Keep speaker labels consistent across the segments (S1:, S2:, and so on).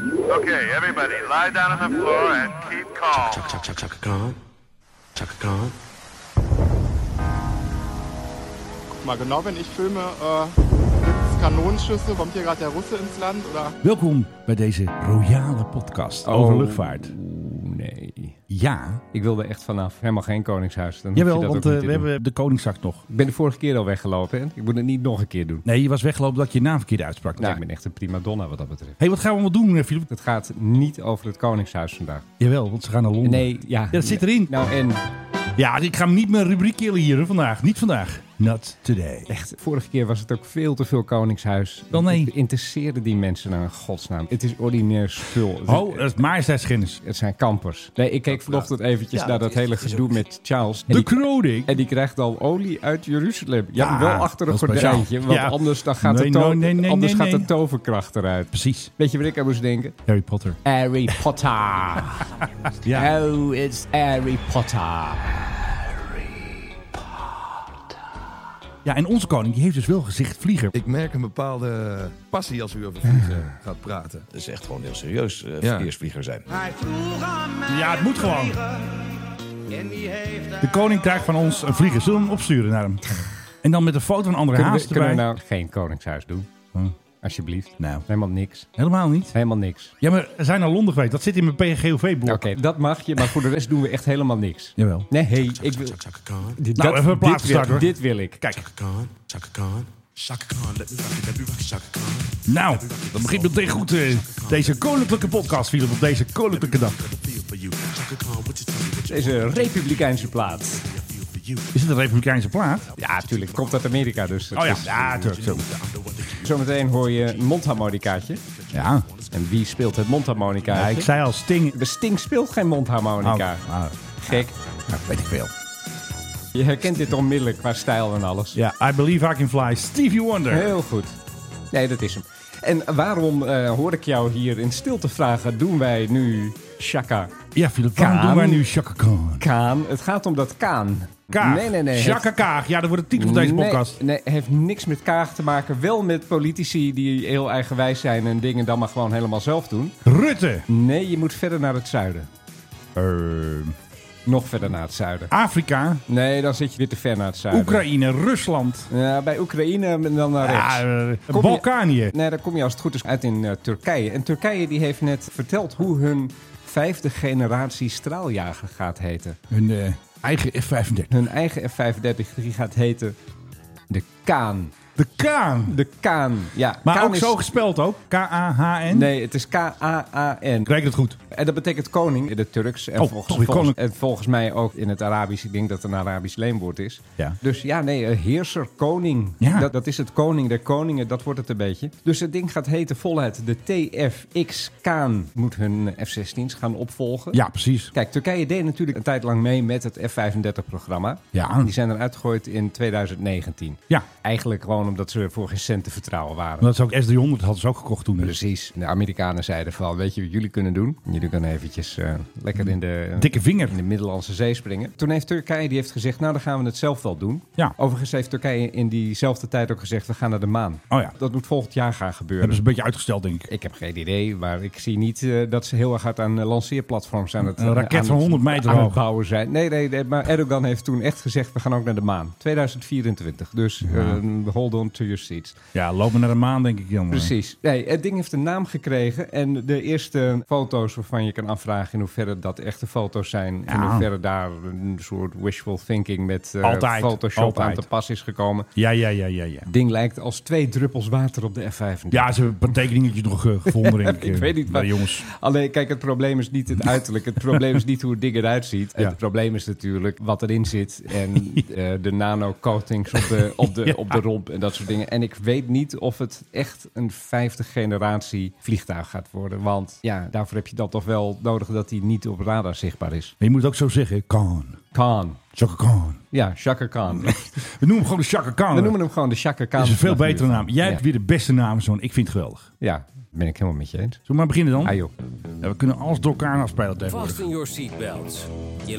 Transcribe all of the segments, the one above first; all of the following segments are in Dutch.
S1: Hey, everybody, lie down on the floor and keep calm.
S2: Chaka chaka chaka chaka Khan. Chaka Khan.
S3: Guck mal, genau wenn ich filme, äh, gibt's Kanonenschüsse, kommt hier gerade der Russe ins Land oder
S4: Welkom bij deze royale podcast over
S5: Oh.
S4: luchtvaart.
S5: Oeh, nee.
S4: Ja,
S5: Ik wilde echt vanaf helemaal geen Koningshuis. Dan hoef je
S4: jawel,
S5: dat
S4: want
S5: ook
S4: eh,
S5: niet te
S4: we
S5: doen.
S4: hebben de Koningszak nog.
S5: Ik ben de vorige keer al weggelopen. Hè? Ik moet het niet nog een keer doen.
S4: Nee, je was weggelopen dat je je naam verkeerd uitsprak.
S5: Nou, ik
S4: Hé,
S5: ben echt een prima donna wat dat betreft.
S4: hey, wat gaan we allemaal doen, eh, Filip?
S5: Het gaat niet over het Koningshuis vandaag.
S4: Jawel, want ze gaan naar Londen.
S5: Nee, ja.
S4: dat zit erin.
S5: Nou, en
S4: Ja, ik ga hem niet mijn rubriek killen hier hè, vandaag. Niet vandaag. Not today.
S5: echt, vorige keer was het ook veel te veel Koningshuis.
S4: Wel, nee.
S5: Het interesseerde die mensen naar een godsnaam. Het is ordinair spul. Het-
S4: Oh, dat is majesteitsgennis.
S5: Het zijn kampers. Nee, ik keek vanochtend eventjes
S4: Ja,
S5: naar
S4: dat
S5: dat
S4: is-
S5: hele
S4: dat is
S5: gedoe
S4: ook-
S5: met Charles. En
S4: De
S5: die-
S4: kroning.
S5: En die krijgt al olie uit Jeruzalem. Ja,
S4: Ja,
S5: wel achter een
S4: Ah, dat is
S5: gordijntje.
S4: speciaal.
S5: Want
S4: Ja.
S5: anders dan gaat,
S4: Nee,
S5: de, to-
S4: nee, nee, nee,
S5: anders
S4: nee,
S5: gaat
S4: nee.
S5: de toverkracht eruit.
S4: Precies.
S5: Weet je wat ik aan moest denken?
S4: Harry Potter.
S5: Harry Potter.
S4: Ja.
S5: Oh, it's Harry Potter.
S4: Ja, en onze koning die heeft dus wel gezicht vlieger.
S6: Ik merk een bepaalde passie als u over vliegen gaat praten.
S7: Dat is echt gewoon heel serieus eh
S6: Ja.
S7: verkeersvlieger zijn.
S4: Ja, het moet gewoon. De koning krijgt van ons een vlieger. Zullen we hem opsturen naar hem? En dan met een foto van andere
S5: Kunnen
S4: haast
S5: we, kunnen
S4: erbij.
S5: we eh, nou geen koningshuis doen?
S4: Hm.
S5: Alsjeblieft.
S4: Nou,
S5: Helemaal niks.
S4: helemaal niet.
S5: Helemaal niks.
S4: Ja, maar we zijn naar Londen geweest. Dat zit in mijn PGOV-boek.
S5: Oké, dat mag je, maar voor de rest doen we echt helemaal niks.
S4: Jawel.
S5: Nee, hey, ik wil...
S2: Chaka Khan.
S5: Dit,
S4: Nou,
S5: dat-
S4: even een plaat
S5: dit,
S4: starten, hoor.
S5: wil, dit wil ik.
S4: Kijk,
S2: Chaka Khan. Chaka Khan. Chaka Khan. Let me rock it. Let me rock it. Chaka Khan.
S4: nou, dat begint meteen goed. eh, deze koninklijke podcast, Philip, op deze koninklijke dag.
S2: Got a feel for you. Chaka Khan. What you tell me? What you
S5: Deze republikeinse plaat.
S2: got a feel for you?
S4: Is het een republikeinse plaat?
S5: Ja, natuurlijk. Komt uit Amerika, dus. het
S4: Oh ja,
S5: is-
S4: ja, tuurlijk. Zo.
S5: Zometeen hoor je een mondharmonicaatje.
S4: Ja.
S5: En wie speelt het
S4: ja,
S5: mondharmonicaatje?
S4: ik zei al Sting.
S5: De Sting speelt geen
S4: Oh,
S5: mondharmonica.
S4: ah,
S5: Gek.
S4: nou, weet ik veel.
S5: Je herkent dit onmiddellijk qua stijl en alles.
S4: Ja, I Believe I Can Fly, Stevie Wonder.
S5: Heel goed. Nee, dat is hem. En waarom eh, hoor ik jou hier in stilte vragen? Doen wij nu Shaka
S4: Ja, Philip, waarom
S5: Kaan.
S4: doen wij nu Chaka Khan?
S5: Kaan? Het gaat om dat Kaan.
S4: Kaag.
S5: Nee, nee, nee.
S4: Chaka Kaag. Ja, dat wordt de titel van deze
S5: nee,
S4: podcast.
S5: Nee, heeft niks met Kaag te maken. Wel met politici die heel eigenwijs zijn en dingen dan maar gewoon helemaal zelf doen.
S4: Rutte.
S5: Nee, je moet verder naar het zuiden.
S4: Ehm,
S5: Nog verder naar het zuiden.
S4: Afrika.
S5: Nee, dan zit je weer te ver naar het zuiden.
S4: Oekraïne. Rusland.
S5: Ja, bij Oekraïne dan naar rechts.
S4: Ja, eh,
S5: Kom je-
S4: Balkanië.
S5: Nee, daar kom je als het goed is uit in eh, Turkije. En Turkije die heeft net verteld hoe hun vijfde generatie straaljager gaat heten.
S4: Hun eh, eigen F-35.
S5: Hun eigen F-35 die gaat heten de Kaan.
S4: De Kaan.
S5: De Kaan, ja.
S4: Maar
S5: Kaan
S4: ook
S5: is-
S4: zo gespeld ook. K-A-H-N.
S5: Nee, het is K-A-A-N.
S4: Ik reken het goed.
S5: En dat betekent koning in het Turks. En,
S4: Oh,
S5: volgens,
S4: sorry,
S5: volgens-
S4: koning.
S5: en volgens mij ook in het Arabisch. Ik denk dat het een Arabisch leenwoord is.
S4: Ja.
S5: Dus ja, nee, eh, heerser, koning.
S4: Ja.
S5: Dat, dat is het koning der koningen, dat wordt het een beetje. Dus het ding gaat heten voluit. De TFX Kaan moet hun eh, F-16's gaan opvolgen.
S4: Ja, precies.
S5: Kijk, Turkije deed natuurlijk een tijd lang mee met het F-35-programma.
S4: Ja.
S5: Die zijn eruit gegooid in 2019.
S4: Ja.
S5: Eigenlijk gewoon omdat ze voor geen cent te vertrouwen waren.
S4: Dat is ook S300. hadden ze ook gekocht toen. Dus.
S5: Precies. De Amerikanen zeiden van, weet je wat jullie kunnen doen? Jullie kunnen eventjes eh, lekker in de,
S4: Dus Dikke vinger.
S5: in de Middellandse Zee springen. Toen heeft Turkije die heeft gezegd, nou dan gaan we het zelf wel doen.
S4: Ja.
S5: Overigens heeft Turkije in diezelfde tijd ook gezegd, we gaan naar de maan.
S4: Oh ja.
S5: Dat moet volgend jaar gaan gebeuren.
S4: Hebben ze een beetje uitgesteld, denk ik.
S5: Ik heb geen idee, maar ik zie niet eh, dat ze heel erg hard aan eh, lanceerplatforms aan het...
S4: Een raket
S5: aan
S4: van
S5: het-
S4: 100 meter
S5: aan het
S4: hoog.
S5: bouwen zijn. Nee, nee, nee, maar Erdogan heeft toen echt gezegd, we gaan ook naar de maan. 2024, dus eh, hold on to your seats.
S4: Ja, lopen naar de maan, denk ik. Dan.
S5: Precies. Nee, het ding heeft een naam gekregen. En de eerste foto's waarvan je kan afvragen in hoeverre dat echte foto's zijn. In
S4: Ja.
S5: hoeverre daar een soort wishful thinking met eh,
S4: Altijd,
S5: Photoshop
S4: altijd.
S5: aan te pas is gekomen.
S4: Ja, ja, ja, ja, ja.
S5: Het ding lijkt als twee druppels water op de F-35.
S4: Ja, ze hebben een paar tekeningetjes nog eh, gevonden, denk ik.
S5: Ik
S4: eh,
S5: weet niet
S4: bij
S5: waar-
S4: de jongens.
S5: Alleen, kijk, het probleem is niet het uiterlijk. Het probleem is niet hoe het ding eruit ziet.
S4: Ja.
S5: Het probleem is natuurlijk wat erin zit. En eh, de nano-coatings op de, op, de, op de romp en dat soort dingen. En ik weet niet of het echt een vijfde generatie vliegtuig gaat worden. Want ja, daarvoor heb je dan toch wel nodig dat hij niet op radar zichtbaar is.
S4: Maar je moet het ook zo zeggen. Khan.
S5: Khan.
S4: Chaka Khan.
S5: Ja, Shaka Khan.
S4: We noemen hem gewoon de Chaka Khan.
S5: We noemen hem gewoon de Shaka Khan.
S4: Dat is een veel
S5: Natuurlijk.
S4: betere naam. Jij
S5: Ja.
S4: hebt weer de beste naam, zo'n. Ik vind het geweldig. Zullen
S5: Ja, ben ik helemaal met je eens.
S4: we maar beginnen dan?
S5: Ah joh.
S4: Ja, we kunnen alles door elkaar afspelen tegenwoordig.
S8: Fasten your seatbelts. Je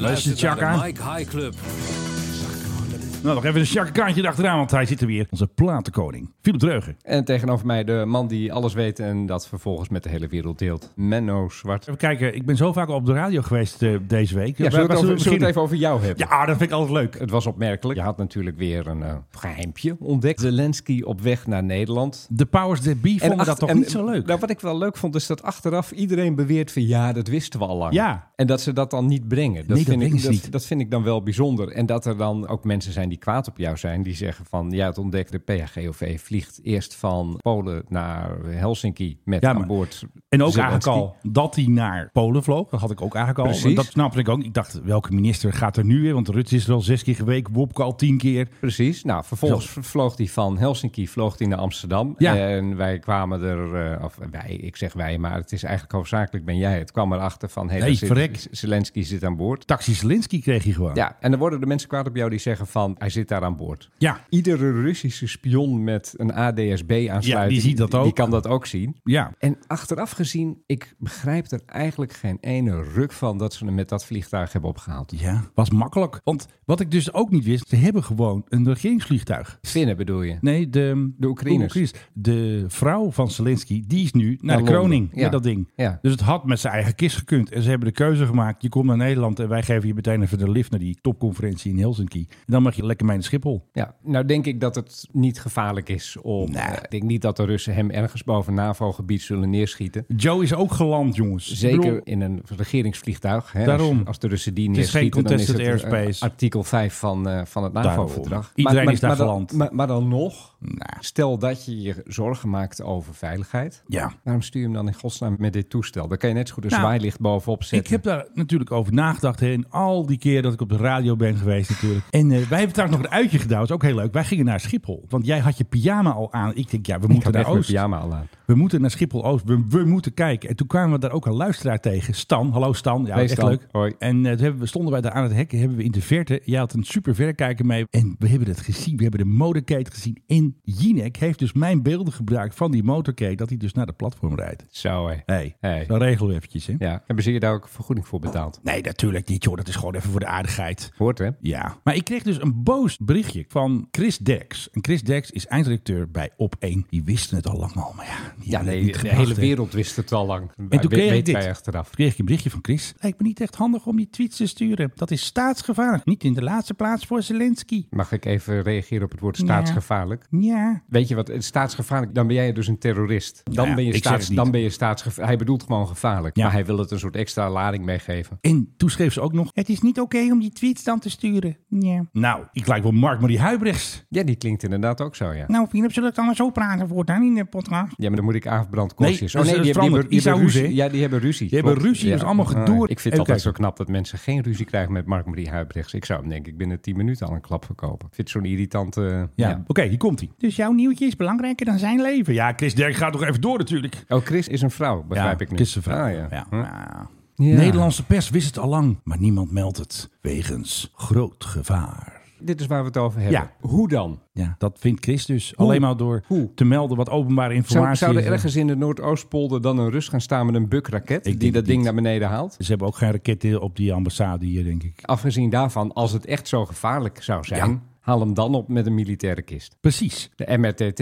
S4: Luistert
S8: luistert naar
S4: Chaka.
S8: de Mike High Club.
S2: Chaka Khan. Let me
S4: Nou, nog even een chakkekaantje erachteraan, want hij zit er weer. Onze platenkoning, Philip Dreugen.
S5: En tegenover mij de man die alles weet en dat vervolgens met de hele wereld deelt. Menno Zwart.
S4: Even kijken, ik ben zo vaak al op de radio geweest eh, deze week.
S5: Ja,
S4: Waar-
S5: zullen we
S4: waar
S5: het, over, zullen we
S4: beginnen?
S5: het even over jou hebben?
S4: Ja, dat vind ik altijd leuk.
S5: Het was opmerkelijk. Je had natuurlijk weer een eh, geheimpje ontdekt. Zelensky op weg naar Nederland.
S4: De Powers That Be vonden dat
S5: achter-
S4: toch
S5: en-
S4: niet zo leuk?
S5: Nou, wat ik wel leuk vond, is dat achteraf iedereen beweert van ja, dat wisten we al lang.
S4: Ja.
S5: En dat ze dat dan niet brengen.
S4: Nee, dat
S5: vind
S4: brengen
S5: ik,
S4: ze
S5: dat,
S4: niet.
S5: dat vind ik dan wel bijzonder. En dat er dan ook mensen zijn die kwaad op jou zijn. Die zeggen van ja, het ontdekte PHGOV vliegt eerst van Polen naar Helsinki met
S4: Ja, maar-
S5: aan boord.
S4: En ook
S5: Zelensky.
S4: eigenlijk al dat hij naar Polen vloog. Dat had ik ook eigenlijk al.
S5: Precies.
S4: Dat snapte ik ook. Ik dacht, welke minister gaat er nu weer? Want Rutte is er al zes keer geweken, Wopke al tien keer.
S5: Precies. Nou, vervolgens vloog hij van Helsinki vloog hij naar Amsterdam.
S4: Ja.
S5: En wij kwamen er, eh, of wij, ik zeg wij, maar het is eigenlijk hoofdzakelijk ben jij. Het kwam erachter van, hey,
S4: Nee,
S5: daar zit-
S4: verrek.
S5: Zelensky zit aan boord.
S4: Taxi Zelensky kreeg hij gewoon.
S5: Ja, en dan worden de mensen kwaad op jou die zeggen van, hij zit daar aan boord.
S4: Ja,
S5: Iedere Russische spion met een ADSB-aansluiting,
S4: Ja, die ziet dat ook.
S5: Die kan dat ook zien.
S4: ja.
S5: En achteraf gezien, ik begrijp er eigenlijk geen ene ruk van dat ze hem met dat vliegtuig hebben opgehaald.
S4: Ja, was makkelijk. Want wat ik dus ook niet wist, ze hebben gewoon een regeringsvliegtuig.
S5: Finnen bedoel je?
S4: Nee, de,
S5: De Oekraïners.
S4: De vrouw van Zelensky, die is nu naar,
S5: Naar
S4: de
S5: Londen.
S4: kroning.
S5: Ja.
S4: Met dat ding.
S5: Ja.
S4: Dus het had met zijn eigen kist gekund. En ze hebben de keuze gemaakt. Je komt naar Nederland en wij geven je meteen even de lift naar die topconferentie in Helsinki. En dan mag je lekker mee naar Schiphol.
S5: Ja, nou denk ik dat het niet gevaarlijk is om. eh, Ik denk niet dat de Russen hem ergens boven NAVO-gebied zullen neerschieten.
S4: Joe is ook geland, jongens. Dus Ik
S5: Zeker
S4: bedoel,
S5: in een regeringsvliegtuig. Hè,
S4: Daarom.
S5: Als, als de Russen die
S4: Het is geen
S5: neerschieten, dan is het
S4: contested
S5: eh,
S4: airspace.
S5: artikel 5 van, eh, van het NAVO-verdrag.
S4: Daarom. Iedereen is daar
S5: maar, dan-
S4: geland.
S5: Maar, maar dan nog,
S4: nou,
S5: stel dat je je zorgen maakt over veiligheid.
S4: ja.
S5: Waarom stuur je hem dan in godsnaam met dit toestel? Dan kan je net zo goed een
S4: Nou,
S5: zwaailicht bovenop zetten.
S4: Ik heb daar natuurlijk over nagedacht. Hè, in al die keer dat ik op de radio ben geweest natuurlijk. En eh, wij hebben trouwens nog een uitje gedaan. Dat is ook heel leuk. Wij gingen naar Schiphol. Want jij had je pyjama al aan. Ik denk, ja, we
S5: Ik
S4: moeten
S5: had
S4: naar
S5: echt mijn
S4: Oost.
S5: pyjama al aan.
S4: We moeten naar Schiphol Oost. We, we moeten kijken. En toen kwamen we daar ook een luisteraar tegen. Stan. Hallo Stan. Ja,
S5: Hey,
S4: echt
S5: Stan.
S4: leuk.
S5: Hoi.
S4: En eh, toen hebben we, stonden wij daar aan het hek. Hebben we in de verte. Jij had een super verrekijker mee. En we hebben het gezien. We hebben de motorcade gezien. En Jinek heeft dus mijn beelden gebruikt van die motorcade. Dat hij dus naar de platform rijdt.
S5: Zo hé.
S4: Hey,
S5: Hey.
S4: dan regelen we eventjes. Hè?
S5: Ja, hebben ze je daar ook vergoeding voor betaald?
S4: Nee, natuurlijk niet, joh. Dat is gewoon even voor de aardigheid.
S5: Hoort hè?
S4: Ja. Maar ik kreeg dus een boos berichtje van Chris Dex. En Chris Dex is eindredacteur bij Op1. Die wisten het al lang al, maar ja. die
S5: Ja,
S4: hadden het
S5: nee,
S4: niet
S5: de
S4: gebracht,
S5: hele
S4: hè.
S5: wereld wist het al lang.
S4: En toen kreeg
S5: weet
S4: ik dit.
S5: wij achteraf.
S4: Toen kreeg ik een berichtje van Chris. Lijkt me niet echt handig om die tweets te sturen. Dat is staatsgevaarlijk. Niet in de laatste plaats voor Zelensky.
S5: Mag ik even reageren op het woord staatsgevaarlijk?
S4: Ja.
S5: Weet je wat, het staatsgevaarlijk, dan ben jij dus een terrorist. Dan,
S4: Ja,
S5: ben, je
S4: ik zeg
S5: staats,
S4: het niet.
S5: dan ben je staatsgevaarlijk. Hij bedoelt gewoon gevaarlijk.
S4: Ja.
S5: Maar hij wil het een soort extra lading meegeven.
S4: En toen schreef ze ook nog... Het is niet oké om die tweets dan te sturen. Ja. Nou, ik lijk wel Mark-Marie Huibrechts.
S5: Ja, die klinkt inderdaad ook zo, ja.
S4: Nou, Philip, zullen we het dan maar zo praten voortaan in de podcast?
S5: Ja, maar dan moet ik Oh, Aafbrand
S4: Nee,
S5: Kostjes.
S4: dat is- dat is veranderd. Isaoeze,
S5: ruzie.
S4: hè?
S5: Ja, die hebben ruzie.
S4: Die hebben
S5: klopt.
S4: ruzie,
S5: Ja.
S4: dus allemaal gedoe.
S5: Ah, ik vind
S4: Even
S5: het altijd zo
S4: kijken.
S5: knap dat mensen geen ruzie krijgen met Mark-Marie Huibrechts. Ik zou hem denk ik binnen 10 minuten al een klap verkopen. Ik vind het zo'n irritante...
S4: Ja,
S5: ja.
S4: oké, hier komt hij. Dus jouw nieuwtje is belangrijker dan zijn leven. Ja, Chris Derk gaat toch even door natuurlijk.
S5: Oh, Chris is een vrouw, begrijp ik nu.
S4: Chris is een vrouw.
S5: Ah, ja.
S4: Ja.
S5: Hm?
S4: Ja.
S5: Ja.
S4: Nederlandse pers wist het al lang, maar niemand meldt het. Wegens groot gevaar.
S5: Dit is waar we het over hebben.
S4: Ja.
S5: Hoe dan?
S4: Ja, dat vindt Chris dus. Alleen maar door
S5: Hoe?
S4: te melden wat openbare
S5: Zou,
S4: informatie
S5: zou er
S4: is.
S5: ergens in de Noordoostpolder dan een Rus gaan staan met een bukraket
S4: denk
S5: die dat
S4: het
S5: ding
S4: niet.
S5: naar beneden haalt?
S4: Ze hebben ook geen raketten op die ambassade hier, denk ik.
S5: Afgezien daarvan, als het echt zo gevaarlijk zou zijn,
S4: Ja.
S5: haal hem dan op met een militaire kist.
S4: Precies.
S5: De MRTT,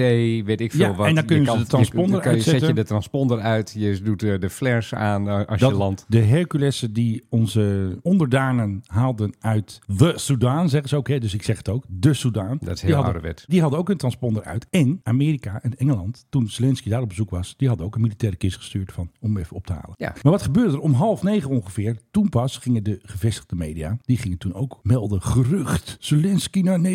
S5: weet ik veel
S4: Ja,
S5: wat.
S4: en dan kunnen ze
S5: kan-
S4: de transponder
S5: dan kan je- Zet je
S4: uitzetten.
S5: de transponder uit, je doet eh, de flares aan eh, als je
S4: Dat
S5: landt.
S4: de Herculessen die onze onderdanen haalden uit de Soudaan, zeggen ze ook. Hè? Dus ik zeg het ook, de Soudaan.
S5: Dat is
S4: Die
S5: heel
S4: hadden-
S5: ouderwets.
S4: Die hadden ook een transponder uit. En Amerika en Engeland, toen Zelensky daar op bezoek was, die hadden ook een militaire kist gestuurd van, om even op te halen.
S5: Ja.
S4: Maar wat gebeurde er om half negen ongeveer? Toen pas gingen de gevestigde media, die gingen toen ook melden, gerucht, Zelensky naar Nederland.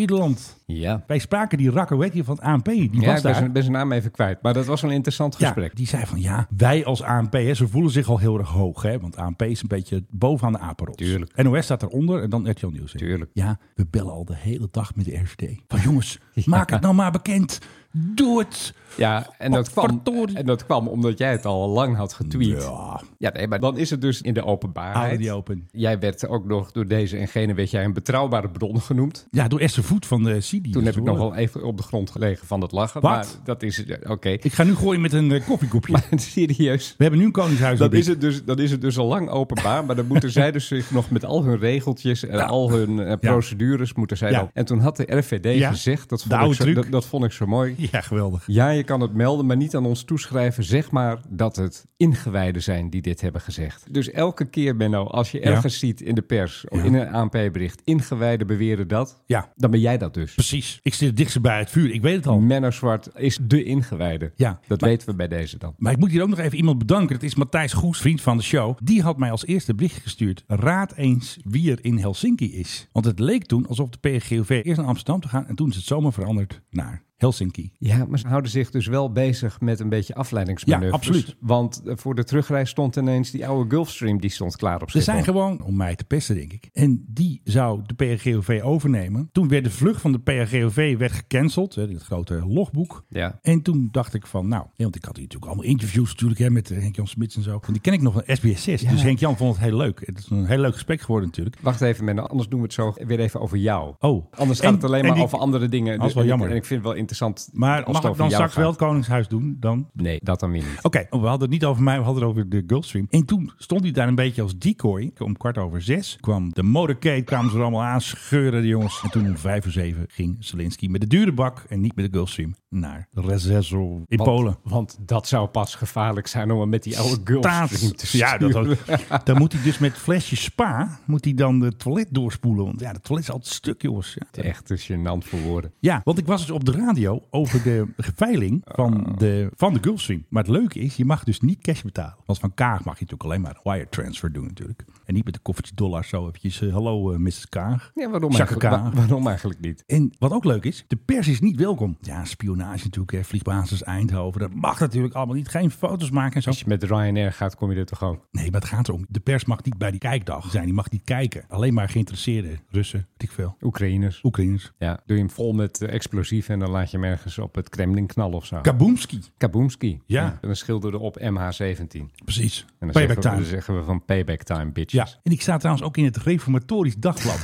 S5: Ja.
S4: Wij spraken die rakker, weet je, van het ANP, die was
S5: Ja, ik ben
S4: daar.
S5: zijn, ben zijn naam even kwijt. Maar dat was een interessant gesprek.
S4: Ja, die zei van ja, wij als ANP, hè, ze voelen zich al heel erg hoog. Hè, want ANP is een beetje bovenaan de apenrots.
S5: Tuurlijk.
S4: NOS staat eronder en dan RTL Nieuws. hè.
S5: Tuurlijk.
S4: Ja, we bellen al de hele dag met de RVD. Van jongens, maak het nou maar bekend. Doe het!
S5: Ja, en dat, kwam,
S4: Potverdorie.
S5: en dat kwam omdat jij het al lang had getweet.
S4: Ja.
S5: Ja, nee, maar dan is het dus in de
S4: Hou
S5: openbaarheid.
S4: Ah, die open.
S5: Jij werd ook nog door deze en gene werd jij een betrouwbare bron genoemd.
S4: Ja, door Esther Voet van de CD.
S5: Toen heb ik nog wel even op de grond gelegen van het lachen.
S4: Wat?
S5: Maar dat is eh, oké.
S4: Ik ga nu gooien met een eh, koffiekopje.
S5: Maar serieus.
S4: We hebben nu een koningshuis.
S5: Dan is, het dus, dan is het dus al lang openbaar, maar dan moeten zij dus zich nog met al hun regeltjes en al hun eh, procedures moeten zij
S4: Ja.
S5: dan. En toen had de RVD
S4: Ja.
S5: gezegd, dat
S4: De
S5: vond,
S4: oude
S5: ik zo,
S4: truc.
S5: dat, dat vond ik zo mooi.
S4: Ja, geweldig.
S5: Ja, je kan het melden, maar niet aan ons toeschrijven. Zeg maar dat het ingewijden zijn die dit hebben gezegd. Dus elke keer, Benno, als je ergens ziet in de pers, of
S4: Ja.
S5: in een ANP-bericht, ingewijden beweren dat,
S4: Ja,
S5: dan ben jij dat dus.
S4: precies. Ik zit het dichtst bij het vuur. Ik weet het al.
S5: Menno Zwart is de ingewijde.
S4: Ja.
S5: Dat weten we bij deze dan.
S4: Maar ik moet hier ook nog even iemand bedanken. Dat is Matthijs Goes, vriend van de show. Die had mij als eerste bericht gestuurd. Raad eens wie er in Helsinki is. Want het leek toen alsof de PGOV eerst naar Amsterdam te gaan. En toen is het zomaar veranderd naar Helsinki.
S5: Ja, maar ze houden zich dus wel bezig met een beetje afleidingsmanoeuvres.
S4: Ja, absoluut.
S5: Want eh, voor de terugreis stond ineens die oude Gulfstream, die stond klaar
S4: Ze
S5: op Schiphol.
S4: zijn gewoon om mij te pesten, denk ik. En die zou de PRGOV overnemen. Toen werd de vlucht van de PRGOV werd gecanceld. hè, Het grote logboek.
S5: Ja.
S4: En toen dacht ik van, nou, nee, want ik had hier natuurlijk allemaal interviews natuurlijk hè, met eh, Henk-Jan Smits en zo. Want die ken ik nog van SBS 6. Dus Henk-Jan vond het heel leuk. Het is een heel leuk gesprek geworden natuurlijk.
S5: Wacht even, Menno, anders doen we het zo weer even over jou.
S4: Oh.
S5: Anders gaat
S4: En-
S5: het alleen
S4: en
S5: maar
S4: die-
S5: over andere dingen. Dus
S4: Dat is wel
S5: En ik-
S4: jammer.
S5: En ik vind het wel interessant.
S4: Maar
S5: als
S4: mag
S5: het
S4: ik
S5: over
S4: dan
S5: jou
S4: straks wel het
S5: gaat.
S4: Koningshuis doen? Dan?
S5: Nee, dat dan weer niet.
S4: Oké, we hadden het niet over mij, we hadden het over de Gulfstream. En toen stond hij daar een beetje als decoy. Om kwart over zes kwam de motorcade, kwamen ze er allemaal aan, scheuren de jongens. En toen om vijf voor zeven ging Zelensky met de dure bak en niet met de Gulfstream naar Rzeszow in Polen.
S5: Want dat zou pas gevaarlijk zijn om hem met die oude Gulfstream te
S4: Staats- Ja, dat
S5: sturen.
S4: ook. Dan moet hij dus met flesje spa, moet hij dan de toilet doorspoelen. Want ja, de toilet is altijd stuk, jongens. Ja.
S5: Echt te gênant voor woorden.
S4: Ja, want ik was dus op de radio over de veiling
S5: Oh.
S4: van de, van de Gulfstream. Maar het leuke is, je mag dus niet cash betalen. Want van Kaag mag je natuurlijk alleen maar een wire transfer doen natuurlijk. En niet met een koffertje dollar zo eventjes. eh, Hallo eh, Mrs. Kaag.
S5: Ja, waarom,
S4: Jacques
S5: eigenlijk, wa-
S4: Kaag.
S5: waarom eigenlijk niet?
S4: En wat ook leuk is, de pers is niet welkom. Ja, spionage natuurlijk, hè, vliegbasis Eindhoven. Dat mag natuurlijk allemaal niet. Geen foto's maken en zo.
S5: Als je met Ryanair gaat, kom je er toch ook.
S4: Nee, maar het gaat erom. De pers mag niet bij die kijkdag zijn. Die mag niet kijken. Alleen maar geïnteresseerden. Russen, weet ik veel.
S5: Oekraïners.
S4: Oekraïners.
S5: Ja, doe je hem vol met eh, explosieven en dan laat je hem ergens op het Kremlin knallen of zo.
S4: Kaboomski.
S5: Kaboomski.
S4: Ja.
S5: En dan schilderde op MH17.
S4: Precies.
S5: En dan
S4: Payback
S5: zeggen, we,
S4: time.
S5: dan zeggen we van payback time,
S4: Ja,
S5: bitches.
S4: en ik sta trouwens ook in het Reformatorisch Dagblad.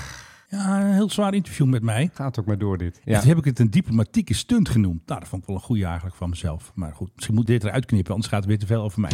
S4: Ja, een heel zwaar interview met mij.
S5: Gaat ook maar door dit.
S4: Ja.
S5: Ja.
S4: Toen heb ik het een diplomatieke stunt genoemd. Nou, dat vond ik wel een goede eigenlijk van mezelf. Maar goed, misschien moet ik dit eruit knippen, anders gaat het weer te veel over mij.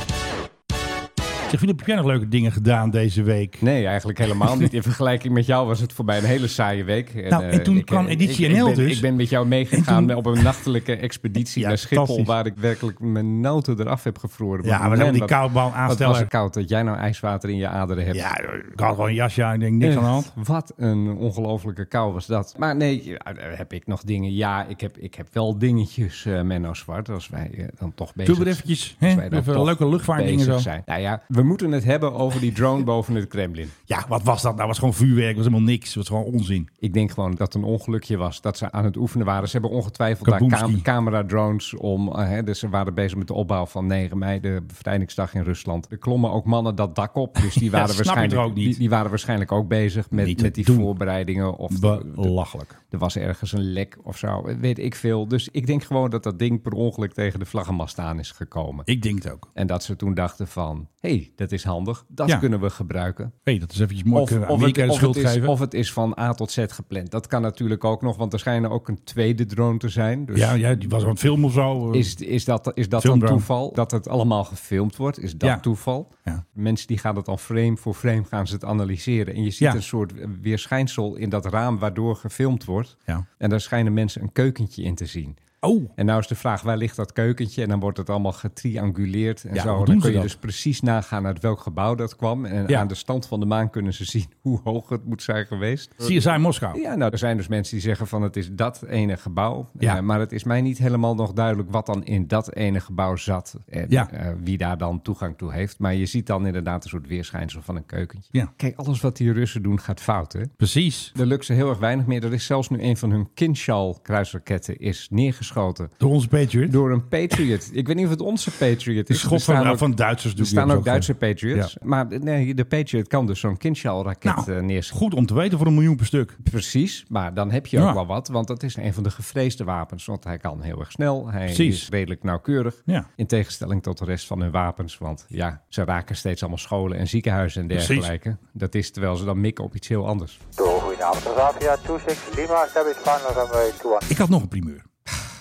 S4: Zeg, Filip, heb jij nog leuke dingen gedaan deze week?
S5: Nee, eigenlijk helemaal niet. In vergelijking met jou was het voor mij een hele saaie week. En,
S4: Nou, en
S5: eh,
S4: toen
S5: ik-
S4: kwam
S5: ik-
S4: Editie
S5: ik, ik
S4: NL
S5: ben-
S4: dus.
S5: Ik ben met jou meegegaan
S4: En toen-
S5: op een nachtelijke expeditie
S4: Ja,
S5: naar Schiphol,
S4: fantastisch.
S5: waar ik werkelijk mijn noten eraf heb gevroren.
S4: Ja,
S5: Want
S4: maar dan
S5: man,
S4: die
S5: wat-
S4: koudbal
S5: Wat was
S4: aansteller.
S5: het koud dat jij nou ijswater in je aderen hebt.
S4: Ja, ik had gewoon een jasje aan. Ik denk,
S5: Eh,
S4: niks aan de hand.
S5: Echt, Wat een ongelofelijke kou was dat. Maar nee, ja, heb ik nog dingen? Ja, ik heb, ik heb wel dingetjes, eh Menno Zwart, als wij eh, dan toch bezig
S4: Doe maar eventjes.
S5: als
S4: Hè?
S5: wij dan
S4: Even
S5: toch
S4: leuke luchtvaartdingen
S5: bezig
S4: zo.
S5: Zijn. Nou ja, we moeten het hebben over die drone boven het Kremlin.
S4: Ja, wat was dat? Nou, was gewoon vuurwerk. was helemaal niks. was gewoon onzin.
S5: Ik denk gewoon dat het een ongelukje was dat ze aan het oefenen waren. Ze hebben ongetwijfeld daar
S4: Kaboomski.
S5: cam camera-drones om. eh, hè, dus ze waren bezig met de opbouw van 9 mei, de bevrijdingsdag in Rusland. Er klommen ook mannen dat dak op. Dus die waren,
S4: snap ik
S5: waarschijnlijk,
S4: er ook niet.
S5: Die, die waren waarschijnlijk ook bezig
S4: Niet
S5: met,
S4: te
S5: met die
S4: doen.
S5: voorbereidingen. Of de- de-
S4: Belachelijk.
S5: er was ergens een lek of zo, weet ik veel. Dus ik denk gewoon dat dat ding per ongeluk tegen de vlaggenmast aan is gekomen.
S4: Ik denk het ook.
S5: En dat ze toen dachten van, hé, hey, dat is handig. Dat
S4: Ja.
S5: kunnen we gebruiken
S4: hey, dat is eventjes mooi. Kunnen we
S5: het,
S4: Amerika de
S5: of,
S4: schuld
S5: het is,
S4: geven?
S5: of het is van A tot Z gepland. Dat kan natuurlijk ook nog, want er schijnen ook een tweede drone te zijn. Dus
S4: Ja, ja, die was aan het film of zo.
S5: Is, is dat, is dat dan
S4: Filmdrone.
S5: toeval? Dat het allemaal gefilmd wordt, is dat
S4: Ja.
S5: toeval?
S4: Ja.
S5: Mensen die gaan het dan frame voor frame gaan ze het analyseren. En je ziet
S4: Ja.
S5: een soort weerschijnsel in dat raam waardoor gefilmd wordt.
S4: Ja.
S5: En daar schijnen mensen een keukentje in te zien.
S4: Oh,
S5: En nou is de vraag, waar ligt dat keukentje? En dan wordt het allemaal getrianguleerd en
S4: Ja, hoe
S5: zo.
S4: doen
S5: Dan
S4: ze
S5: kun je
S4: dat?
S5: dus precies nagaan uit welk gebouw dat kwam. En
S4: Ja.
S5: aan de stand van de maan kunnen ze zien hoe hoog het moet zijn geweest.
S4: CSI Moskou.
S5: Ja, nou, er zijn dus mensen die zeggen van het is dat ene gebouw.
S4: Ja.
S5: Eh, maar het is mij niet helemaal nog duidelijk wat dan in dat ene gebouw zat. En
S4: Ja.
S5: eh, wie daar dan toegang toe heeft. Maar je ziet dan inderdaad een soort weerschijnsel van een keukentje.
S4: Ja.
S5: Kijk, alles wat die Russen doen gaat fout, hè?
S4: Precies.
S5: Er lukt ze heel erg weinig meer. Er is zelfs nu een van hun Kinshal kruisraketten is neergeschoten.
S4: Door onze Patriot.
S5: Door een Patriot. Ik weet niet of het onze Patriot
S4: de
S5: is.
S4: schot
S5: Er staan
S4: van, nou,
S5: ook-
S4: van Duitsers.
S5: Er
S4: doe ik
S5: staan
S4: weer
S5: ook
S4: zo
S5: Duitse
S4: voor.
S5: Patriots. Maar nee, de Patriot kan dus zo'n Kinshall-raket
S4: Nou.
S5: eh, neerschieten.
S4: Goed om te weten voor een miljoen per stuk.
S5: Precies, maar dan heb je
S4: Ja.
S5: ook wel wat. Want dat is een van de gevreesde wapens. Want hij kan heel erg snel. Hij
S4: Precies.
S5: is redelijk nauwkeurig.
S4: Ja.
S5: In tegenstelling tot de rest van hun wapens. Want ja, ze raken steeds allemaal scholen en ziekenhuizen en
S4: Precies.
S5: dergelijke. Dat is terwijl ze dan mikken op iets heel anders.
S7: So, goedenavond, Transavia 26 Lima, Establish Final Runway 21.
S4: Ik had nog een primeur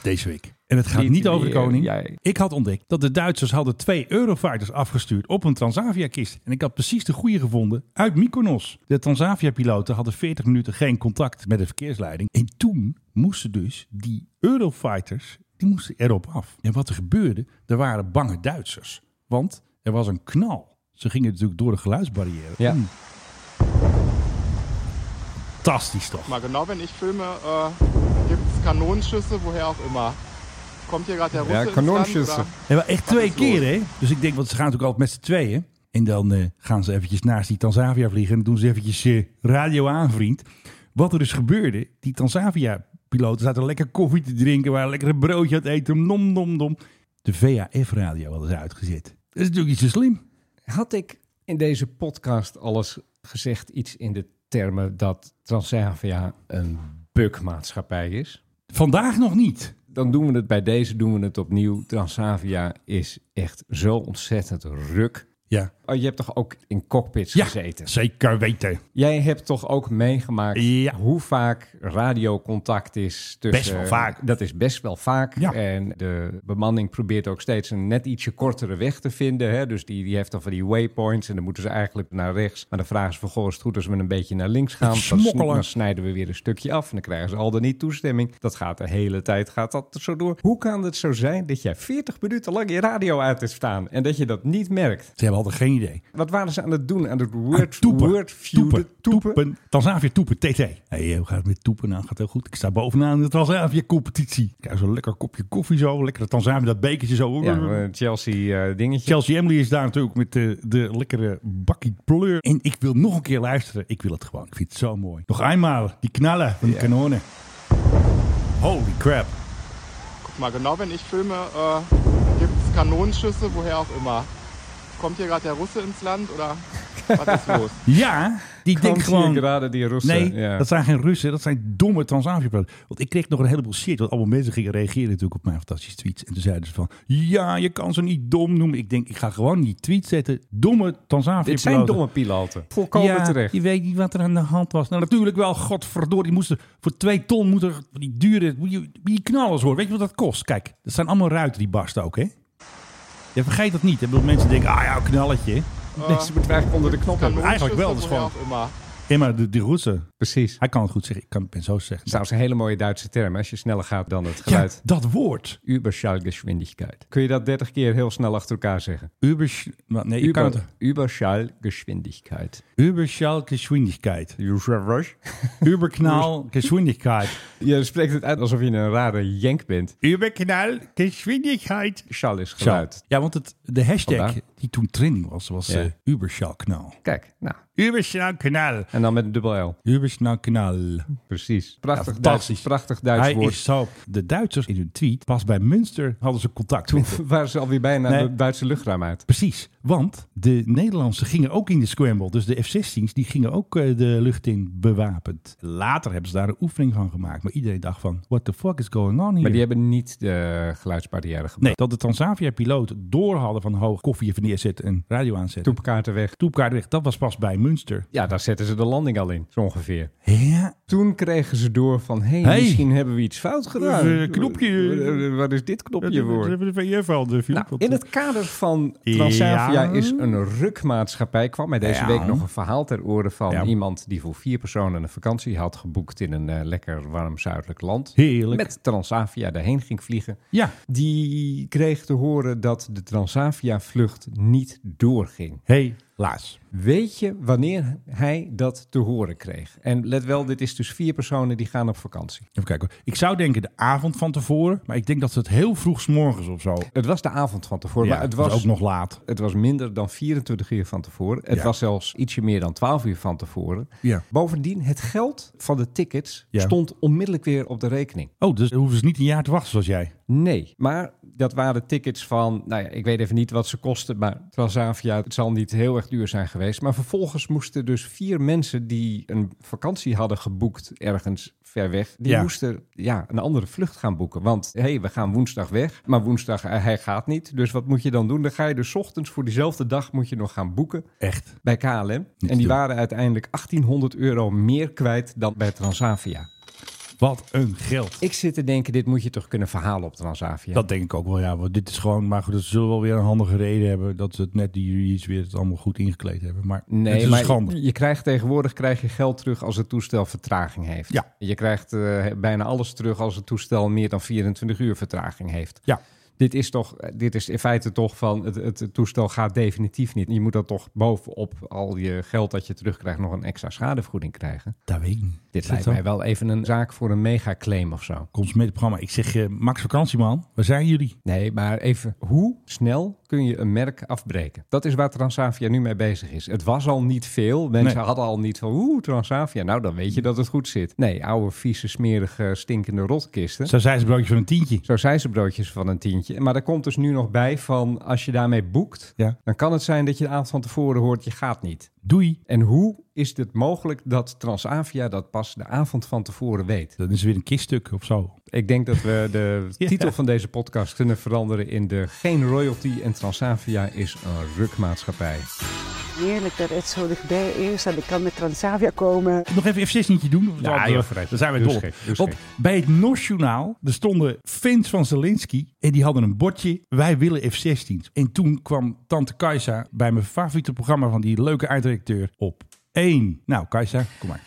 S4: deze week. En het gaat niet,
S5: Niet eh, weer,
S4: over de koning.
S5: jij.
S4: Ik had ontdekt dat de Duitsers hadden twee Eurofighters afgestuurd op een Transavia-kist. En ik had precies de goede gevonden uit Mykonos. De Transavia-piloten hadden 40 minuten geen contact met de verkeersleiding. En toen moesten dus die Eurofighters, die moesten erop af. En wat er gebeurde, er waren bange Duitsers. Want er was een knal. Ze gingen natuurlijk door de geluidsbarrière.
S5: Ja.
S4: Mm. Fantastisch toch?
S3: Mal genau, wenn ich filme, äh, gibt es Kanonenschüsse, woher auch immer. Kommt hier gerade der Russe
S5: Ja,
S3: ins
S5: Kanonenschüsse.
S3: Land,
S4: Ja, maar echt twee keer, hè? Dus ik denk, want ze gaan natuurlijk altijd met z'n tweeën. En dan eh, gaan ze eventjes naast die Tanzavia vliegen. En doen ze eventjes eh, radio aan, vriend. Wat er dus gebeurde, die Tanzavia-piloten zaten lekker koffie te drinken. Waren lekker een broodje aan het eten. Nom, nom, nom. De VHF-radio hadden ze uitgezet. Dat is natuurlijk niet zo slim.
S5: Had ik in deze podcast alles gezegd iets in de termen dat Transavia een bukmaatschappij is?
S4: Vandaag nog niet.
S5: dan doen we het bij deze, doen we het opnieuw. Transavia is echt zo ontzettend ruk.
S4: Ja,
S5: Oh, je hebt toch ook in cockpits
S4: ja
S5: gezeten?
S4: zeker weten.
S5: Jij hebt toch ook meegemaakt
S4: Ja.
S5: hoe vaak radiocontact is tussen...
S4: Best wel vaak.
S5: Dat is best wel vaak.
S4: Ja.
S5: En de bemanning probeert ook steeds een net ietsje kortere weg te vinden. Hè? Dus die, die heeft dan van die waypoints en dan moeten ze eigenlijk naar rechts. Maar dan vragen ze van, goh, is het goed als we een beetje naar links gaan? Dan sn-
S4: Smokkelen.
S5: Dan snijden we weer een stukje af en dan krijgen ze al dan niet toestemming. Dat gaat de hele tijd gaat dat zo door. Hoe kan het zo zijn dat jij 40 minuten lang je radio uit hebt staan en dat je dat niet merkt?
S4: Ze hebben altijd geen idee.
S5: Wat waren ze aan het doen? Aan het
S4: Aan
S5: word,
S4: toepen.
S5: word view,
S4: Toepen.
S5: de toepen.
S4: Toepen. Transavia Toepen, TT. hey, hoe gaat het met Toepen? Nou, gaat heel goed. Ik sta bovenaan in de Transavia competitie. Kijk, zo'n lekker kopje koffie zo. Lekker Transavia, dat bekertje zo.
S5: Ja, een Chelsea eh dingetje.
S4: Chelsea Emily is daar natuurlijk met de, de lekkere bakkie pleur. En ik wil nog een keer luisteren. Ik wil het gewoon. Ik vind het zo mooi. Nog eenmaal, die knallen van de kanonnen. Holy crap.
S3: Guck mal genau, wenn ich filme, äh, gibt es Kanonenschüsse, woher auch immer. Kommt hier gerade der Russe ins Land oder was ist los?
S4: Ja, die
S5: Kan
S4: denk gewoon...
S5: graden die Russen.
S4: Nee,
S5: ja.
S4: dat zijn geen Russen, dat zijn domme transavia Want ik kreeg nog een heleboel shit, want allemaal mensen gingen reageren natuurlijk op mijn fantastische tweets. En toen zeiden ze van, ja, je kan ze niet dom noemen. Ik denk, ik ga gewoon die tweet zetten. Domme transavia
S5: Dit zijn domme piloten. Volkomen
S4: ja,
S5: terecht.
S4: je weet niet wat er aan de hand was. Nou, natuurlijk wel, godverdorie, die moesten voor twee ton moeten die dure, moet je- moet je knallers hoor. Weet je wat dat kost? Kijk, dat zijn allemaal ruiten die barsten ook, hè? Ja, vergeet dat niet. Hè? Ik bedoel, Mensen denken, ah ja, een knalletje.
S5: Deze moet eigenlijk onder de knop hebben.
S4: Eigenlijk wel, dat is
S3: Kanonenschüsse, woher
S4: gewoon...
S3: auch immer.
S4: Ja, maar de, de Russen,
S5: Precies.
S4: hij kan het goed zeggen. Ik kan, ben zo te zeggen.
S5: Dat is trouwens een hele mooie Duitse term. hè, Als je sneller gaat dan het
S4: Ja,
S5: geluid.
S4: dat woord.
S5: Überschallgeschwindigkeit. Kun je dat 30 keer heel snel achter elkaar zeggen?
S4: Übersch wat, nee, je kan het.
S5: Über, Überschallgeschwindigkeit.
S4: Überschallgeschwindigkeit. Überknallgeschwindigkeit.
S5: Je spreekt het uit alsof je een rare jenk bent.
S4: Überknallgeschwindigkeit.
S5: Schall is
S4: Ja,
S5: geluid.
S4: ja, want het, de hashtag
S5: Vandaar.
S4: die toen trending was, was
S5: Ja.
S4: eh Überschallknall.
S5: Kijk, nou.
S4: Überschallknall.
S5: En dan met een dubbel L.
S4: Überschallknall.
S5: Precies.
S4: Ja,
S5: Prachtig
S4: fantastisch.
S5: Duits, prachtig Duits
S4: Hij
S5: woord.
S4: is zo... De Duitsers in hun tweet, pas bij Münster hadden ze contact
S5: Toen
S4: met hem.
S5: waren ze alweer bijna
S4: Nee.
S5: het Duitse luchtruim uit.
S4: Precies, want de Nederlandse gingen ook in de scramble. Dus de F-16's die gingen ook eh, de lucht in bewapend. Later hebben ze daar een oefening van gemaakt. Maar iedereen dacht van, what the fuck is going on hier?
S5: Maar die hebben niet de geluidsbarrière gebruikt.
S4: Nee, dat de Transavia-piloot door hadden van hoog koffie even neerzetten en radio aanzetten.
S5: Toepkaarten weg.
S4: Toepkaart weg, dat was pas bij Münster.
S5: Ja, daar zetten ze de landing al in, zo ongeveer.
S4: Ja,
S5: Toen kregen ze door van, hé, hey,
S4: Hey.
S5: misschien hebben we iets fout gedaan.
S4: Eh, knopje.
S5: Eh, Wat is dit knopje voor?
S4: de VF al. De
S5: Nou, in het kader van Transavia
S4: Ja.
S5: is een rukmaatschappij. kwam mij deze
S4: Ja.
S5: week nog een verhaal ter oren van
S4: Ja.
S5: iemand die voor vier personen een vakantie had geboekt in een eh, lekker warm zuidelijk land.
S4: Heerlijk.
S5: Met Transavia daarheen ging vliegen.
S4: Ja,
S5: Die kreeg te horen dat de Transavia-vlucht niet doorging.
S4: helaas.
S5: Weet je wanneer hij dat te horen kreeg? En let wel, dit is dus vier personen die gaan op vakantie.
S4: Even kijken. hoor. Ik zou denken de avond van tevoren. Maar ik denk dat ze het heel vroeg 's morgens of zo.
S5: Het was de avond van tevoren,
S4: Ja,
S5: maar het was,
S4: ook nog laat.
S5: het was minder dan 24 uur van tevoren. Het
S4: Ja.
S5: was zelfs ietsje meer dan 12 uur van tevoren.
S4: Ja.
S5: Bovendien, het geld van de tickets
S4: Ja.
S5: stond onmiddellijk weer op de rekening.
S4: Oh, dus hoeven ze niet een jaar te wachten zoals jij.
S5: Nee, maar dat waren tickets van, nou ja, ik weet even niet wat ze kosten, maar Transavia, het zal niet heel erg duur zijn geweest. Maar vervolgens moesten dus vier mensen die een vakantie hadden geboekt ergens ver weg, die
S4: Ja.
S5: moesten ja, een andere vlucht gaan boeken. Want hé, hey, we gaan woensdag weg, maar woensdag, eh, hij gaat niet. Dus wat moet je dan doen? Dan ga je dus 's ochtends voor diezelfde dag moet je nog gaan boeken
S4: Echt.
S5: bij KLM. en die
S4: doen.
S5: waren uiteindelijk 1800 euro meer kwijt dan bij Transavia.
S4: Wat een geld.
S5: Ik zit te denken, dit moet je toch kunnen verhalen op Transavia?
S4: Dat denk ik ook wel, ja. Want dit is gewoon, maar goed, ze zullen wel weer een handige reden hebben dat ze het net die juridisch weer het allemaal goed ingekleed hebben. Maar
S5: Nee,
S4: het is een
S5: maar
S4: schande.
S5: je krijgt tegenwoordig krijg je geld terug als het toestel vertraging heeft.
S4: Ja.
S5: Je krijgt eh, bijna alles terug als het toestel meer dan 24 uur vertraging heeft.
S4: Ja.
S5: Dit is, toch, eh, dit is in feite toch van het, het toestel gaat definitief niet. Je moet dat toch bovenop al je geld dat je terugkrijgt nog een extra schadevergoeding krijgen.
S4: Dat weet ik niet.
S5: Dit
S4: Is
S5: lijkt
S4: dat
S5: mij
S4: zo?
S5: wel even een zaak voor een megaclaim of zo.
S4: Consumentenprogramma. Ik zeg, eh, Max Vakantieman, waar zijn jullie?
S5: Nee, maar even, hoe snel kun je een merk afbreken? Dat is waar Transavia nu mee bezig is. Het was al niet veel. Mensen
S4: Nee.
S5: hadden al niet van, oeh, Transavia, nou dan weet je dat het goed zit. Nee, oude, vieze, smerige, stinkende rotkisten.
S4: Zo zijn ze broodje van een tientje.
S5: Zo zijn ze broodjes van een tientje. Maar er komt dus nu nog bij van, als je daarmee boekt,
S4: Ja.
S5: dan kan het zijn dat je de avond van tevoren hoort, je gaat niet.
S4: Doei.
S5: En hoe is het mogelijk dat Transavia dat pas de avond van tevoren weet?
S4: Dan is er weer een kiststuk of zo.
S5: Ik denk dat we de
S4: Ja.
S5: titel van deze podcast kunnen veranderen in de Geen Royalty en Transavia is een rukmaatschappij.
S8: Heerlijk dat het zo dichtbij is en ik kan met Transavia komen.
S4: Nog even f 16 doen. want,
S5: Ja,
S4: eh,
S5: joh, vooruit.
S4: Daar zijn we
S5: Doe
S4: dol. op.
S5: eens gek, doe eens
S4: Want bij het NOS Journaal, er stonden fans van Zelensky en die hadden een bordje. Wij willen F-16's. En toen kwam tante Kajsa bij mijn favoriete programma van die leuke eindredacteur op één. Nou, Kajsa, kom maar.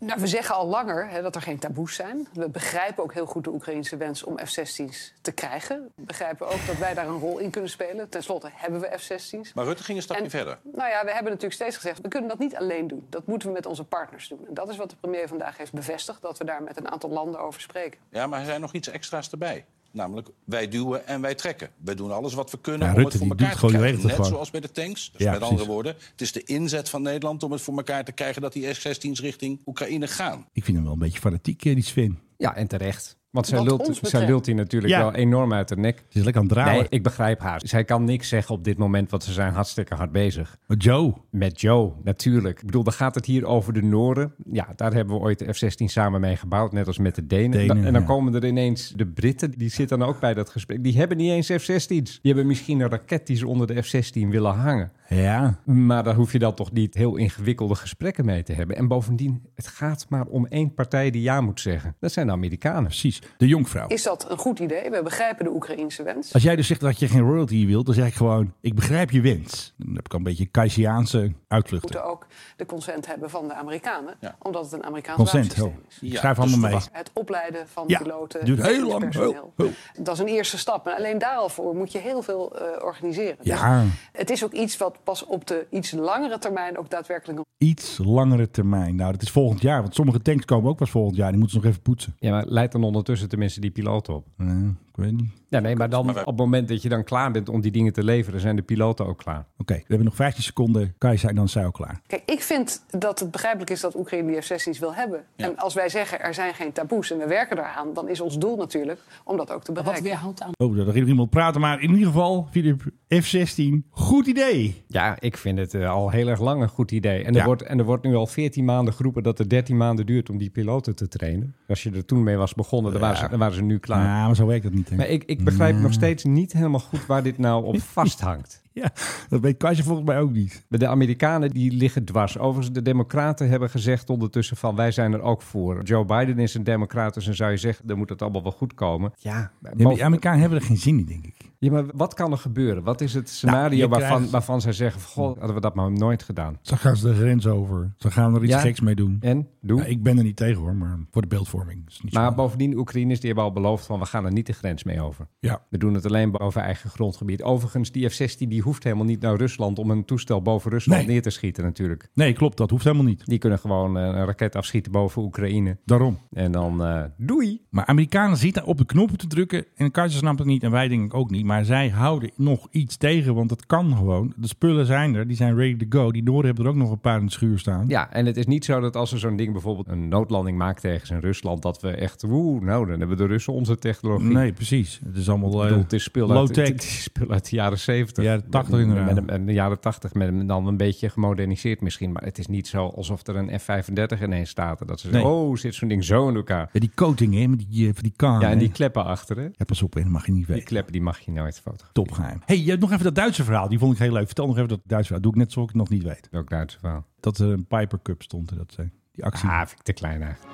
S9: Nou, we zeggen al langer hè, dat er geen taboes zijn. We begrijpen ook heel goed de Oekraïense wens om F-16's te krijgen. We begrijpen ook dat wij daar een rol in kunnen spelen. Ten slotte hebben we F-16's.
S10: Maar Rutte ging een stapje
S9: En-
S10: verder.
S9: Nou ja, we hebben natuurlijk steeds gezegd, we kunnen dat niet alleen doen. Dat moeten we met onze partners doen. En dat is wat de premier vandaag heeft bevestigd, dat we daar met een aantal landen over spreken.
S10: Ja, maar er zijn nog iets extra's erbij. Namelijk, wij duwen en wij trekken. We doen alles wat we kunnen
S4: Ja,
S10: om
S4: Rutte,
S10: het voor
S4: die
S10: elkaar
S4: doet
S10: te
S4: gewoon, die
S10: krijgen.
S4: regelt
S10: Net
S4: het gewoon.
S10: zoals bij de tanks. Dus
S4: Ja,
S10: met
S4: precies.
S10: andere woorden, het is de inzet van Nederland om het voor elkaar te krijgen... dat die F-16's richting Oekraïne gaan.
S4: Ik vind hem wel een beetje fanatiek, eh, die Sven.
S5: Ja, en terecht. Want zij
S9: Wat
S5: lult,
S9: ons
S5: zij
S9: betreft.
S5: lult die natuurlijk
S4: Ja.
S5: wel enorm uit de nek.
S4: Ze is lekker aan het draaien.
S5: Nee, ik begrijp haar. Zij kan niks zeggen op dit moment, want ze zijn hartstikke hard bezig.
S4: Maar Joe,
S5: Met Joe, natuurlijk. Ik bedoel, dan gaat het hier over de Noorden. Ja, daar hebben we ooit de F-16 samen mee gebouwd, net als met de Denen.
S4: Denen,
S5: Da- en dan
S4: ja.
S5: komen er ineens de Britten, die zitten dan ook bij dat gesprek. Die hebben niet eens F-16's. Die hebben misschien een raket die ze onder de F-16 willen hangen.
S4: ja,
S5: Maar daar hoef je dan toch niet heel ingewikkelde gesprekken mee te hebben. En bovendien, het gaat maar om één partij die ja moet zeggen. Dat zijn de Amerikanen.
S4: precies. De jonkvrouw.
S9: Is dat een goed idee? We begrijpen de Oekraïense wens.
S4: Als jij dus zegt dat je geen royalty wilt, dan zeg ik gewoon, ik begrijp je wens. Dan heb ik al een beetje Kajsiaanse
S9: We
S4: uitvluchten.
S9: moeten ook de consent hebben van de Amerikanen,
S10: Ja.
S9: omdat het een Amerikaans
S4: Consent,
S9: wapensysteem
S4: ho.
S9: is.
S10: Ja,
S4: Schrijf
S10: dus
S4: allemaal
S10: de
S4: mee.
S9: Het opleiden van
S4: Ja,
S9: piloten.
S4: duurt heel lang.
S9: personeel.
S4: Heel,
S9: Dat is een eerste stap. En alleen daar al voor moet je heel veel eh, organiseren.
S4: Ja.
S9: Dus het is ook iets wat pas op de iets langere termijn ook daadwerkelijk een
S4: Iets langere termijn. Nou, dat is volgend jaar. Want sommige tanks komen ook pas volgend jaar. Die moeten ze nog even poetsen.
S5: Ja, maar leid dan ondertussen tenminste die piloten op.
S4: Eh, ik weet niet.
S5: Ja, nee, maar dan op het moment dat je dan klaar bent om die dingen te leveren, zijn de piloten ook klaar.
S4: Oké, we hebben nog 15 seconden. Kajsa en dan zijn we klaar.
S9: Kijk, ik vind dat het begrijpelijk is dat Oekraïne die F-16's wil hebben. En als wij zeggen er zijn geen taboes en we werken daaraan, dan is ons doel natuurlijk om dat ook te bereiken.
S4: Oh, daar ging iemand praten. Maar in ieder geval, Filip, F-16. Goed idee.
S5: Ja, ik vind het eh, al heel erg lang een goed idee. En er,
S4: Ja.
S5: wordt, en er wordt nu al 14 maanden geroepen dat het 13 maanden duurt om die piloten te trainen. Als je er toen mee was begonnen, dan, waren, ze, dan waren ze nu klaar.
S4: Ja, maar zo werkt dat niet. Hè?
S5: Maar ik, ik begrijp nog steeds niet helemaal goed waar dit nou op vasthangt.
S4: Ja, dat weet Kajsa volgens mij ook niet.
S5: De Amerikanen die liggen dwars. Overigens, de Democraten hebben gezegd ondertussen van wij zijn er ook voor. Joe Biden is een Democrat, dus dan zou je zeggen, dan moet het allemaal wel goed komen. Ja,
S4: Ja, maar die Amerikanen hebben er geen zin in, denk ik.
S5: ja, maar wat kan er gebeuren? Wat is het scenario
S4: Nou, je
S5: waarvan,
S4: krijgt-
S5: waarvan zij zeggen, van, god, hadden we dat maar nooit gedaan.
S4: Ze gaan ze de grens over. Ze gaan er iets
S5: Ja.
S4: geks mee doen.
S5: En? Doe.
S4: Ja, ik ben er niet tegen hoor, maar voor de beeldvorming. Is niet zo
S5: maar
S4: handig.
S5: bovendien, Oekraïners die hebben al beloofd van we gaan er niet de grens mee over.
S4: Ja.
S5: We doen het alleen boven eigen grondgebied. Overigens, die F-16 die hoeft helemaal niet naar Rusland om een toestel boven Rusland
S4: Nee.
S5: neer te schieten natuurlijk.
S4: Nee, klopt. Dat hoeft helemaal niet.
S5: Die kunnen gewoon eh, een raket afschieten boven Oekraïne.
S4: Daarom.
S5: En dan eh, doei.
S4: Maar Amerikanen zitten op de knoppen te drukken. En Kaiser snapt het niet. En wij denk ik ook niet. Maar zij houden nog iets tegen. Want dat kan gewoon. De spullen zijn er. Die zijn ready to go. Die Noorden hebben er ook nog een paar in de schuur staan.
S5: Ja, en het is niet zo dat als er zo'n ding bijvoorbeeld een noodlanding maakt tegen zijn Rusland, dat we echt, woe, nou, dan hebben de Russen onze technologie.
S4: Nee, precies. Het is allemaal
S5: Ik
S4: eh,
S5: bedoel, het is speel uit,
S4: low-tech.
S5: het is speel uit de jaren 70.
S4: Jaren 80
S5: Met-
S4: inderdaad.
S5: Met, een- de jaren 80, met een- dan een beetje gemoderniseerd misschien. Maar het is niet zo alsof er een F-35 ineens staat. en Dat ze zeggen,
S4: Nee.
S5: oh, zit zo'n ding zo in elkaar.
S4: Ja, die coating, hè, met die, eh, van die kaan.
S5: Ja, en
S4: hè.
S5: die kleppen achter, hè?
S4: Ja, pas op, hè, dat mag je niet
S5: Die
S4: weten.
S5: kleppen, die mag je nooit fotograferen.
S4: Topgeheim. hey, je hebt nog even dat Duitse verhaal. Die vond ik heel leuk. Vertel nog even dat Duitse verhaal. Doe ik net zoals ik het nog niet weet.
S5: Ook Duitse verhaal.
S4: Dat er een Piper Cup stond. en Dat, eh, die actie.
S5: Ah, vind ik te klein eigenlijk.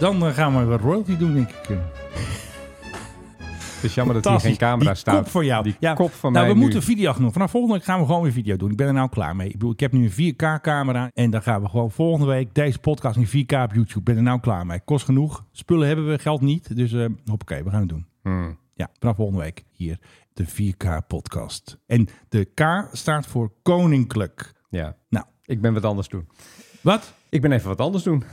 S4: Dan eh, gaan we wat royalty doen, denk ik.
S5: Het is jammer dat hier
S4: Fantastisch.
S5: geen camera
S4: die
S5: staat.
S4: kop voor jou.
S5: Die
S4: ja.
S5: kop van
S4: nou,
S5: mij
S4: we
S5: nu.
S4: moeten video nog. Vanaf volgende week gaan we gewoon weer video doen. Ik ben er nou klaar mee. Ik, bedoel, ik heb nu een 4K-camera. En dan gaan we gewoon volgende week deze podcast in 4K op YouTube. Ik ben er nou klaar mee. Kost genoeg. Spullen hebben we, geld niet. Dus eh hoppakee, we gaan het doen.
S5: Hmm.
S4: Ja, vanaf volgende week hier de 4K-podcast. En de K staat voor koninklijk.
S5: Ja,
S4: Nou,
S5: ik ben wat anders doen.
S4: wat?
S5: Ik ben even wat anders doen.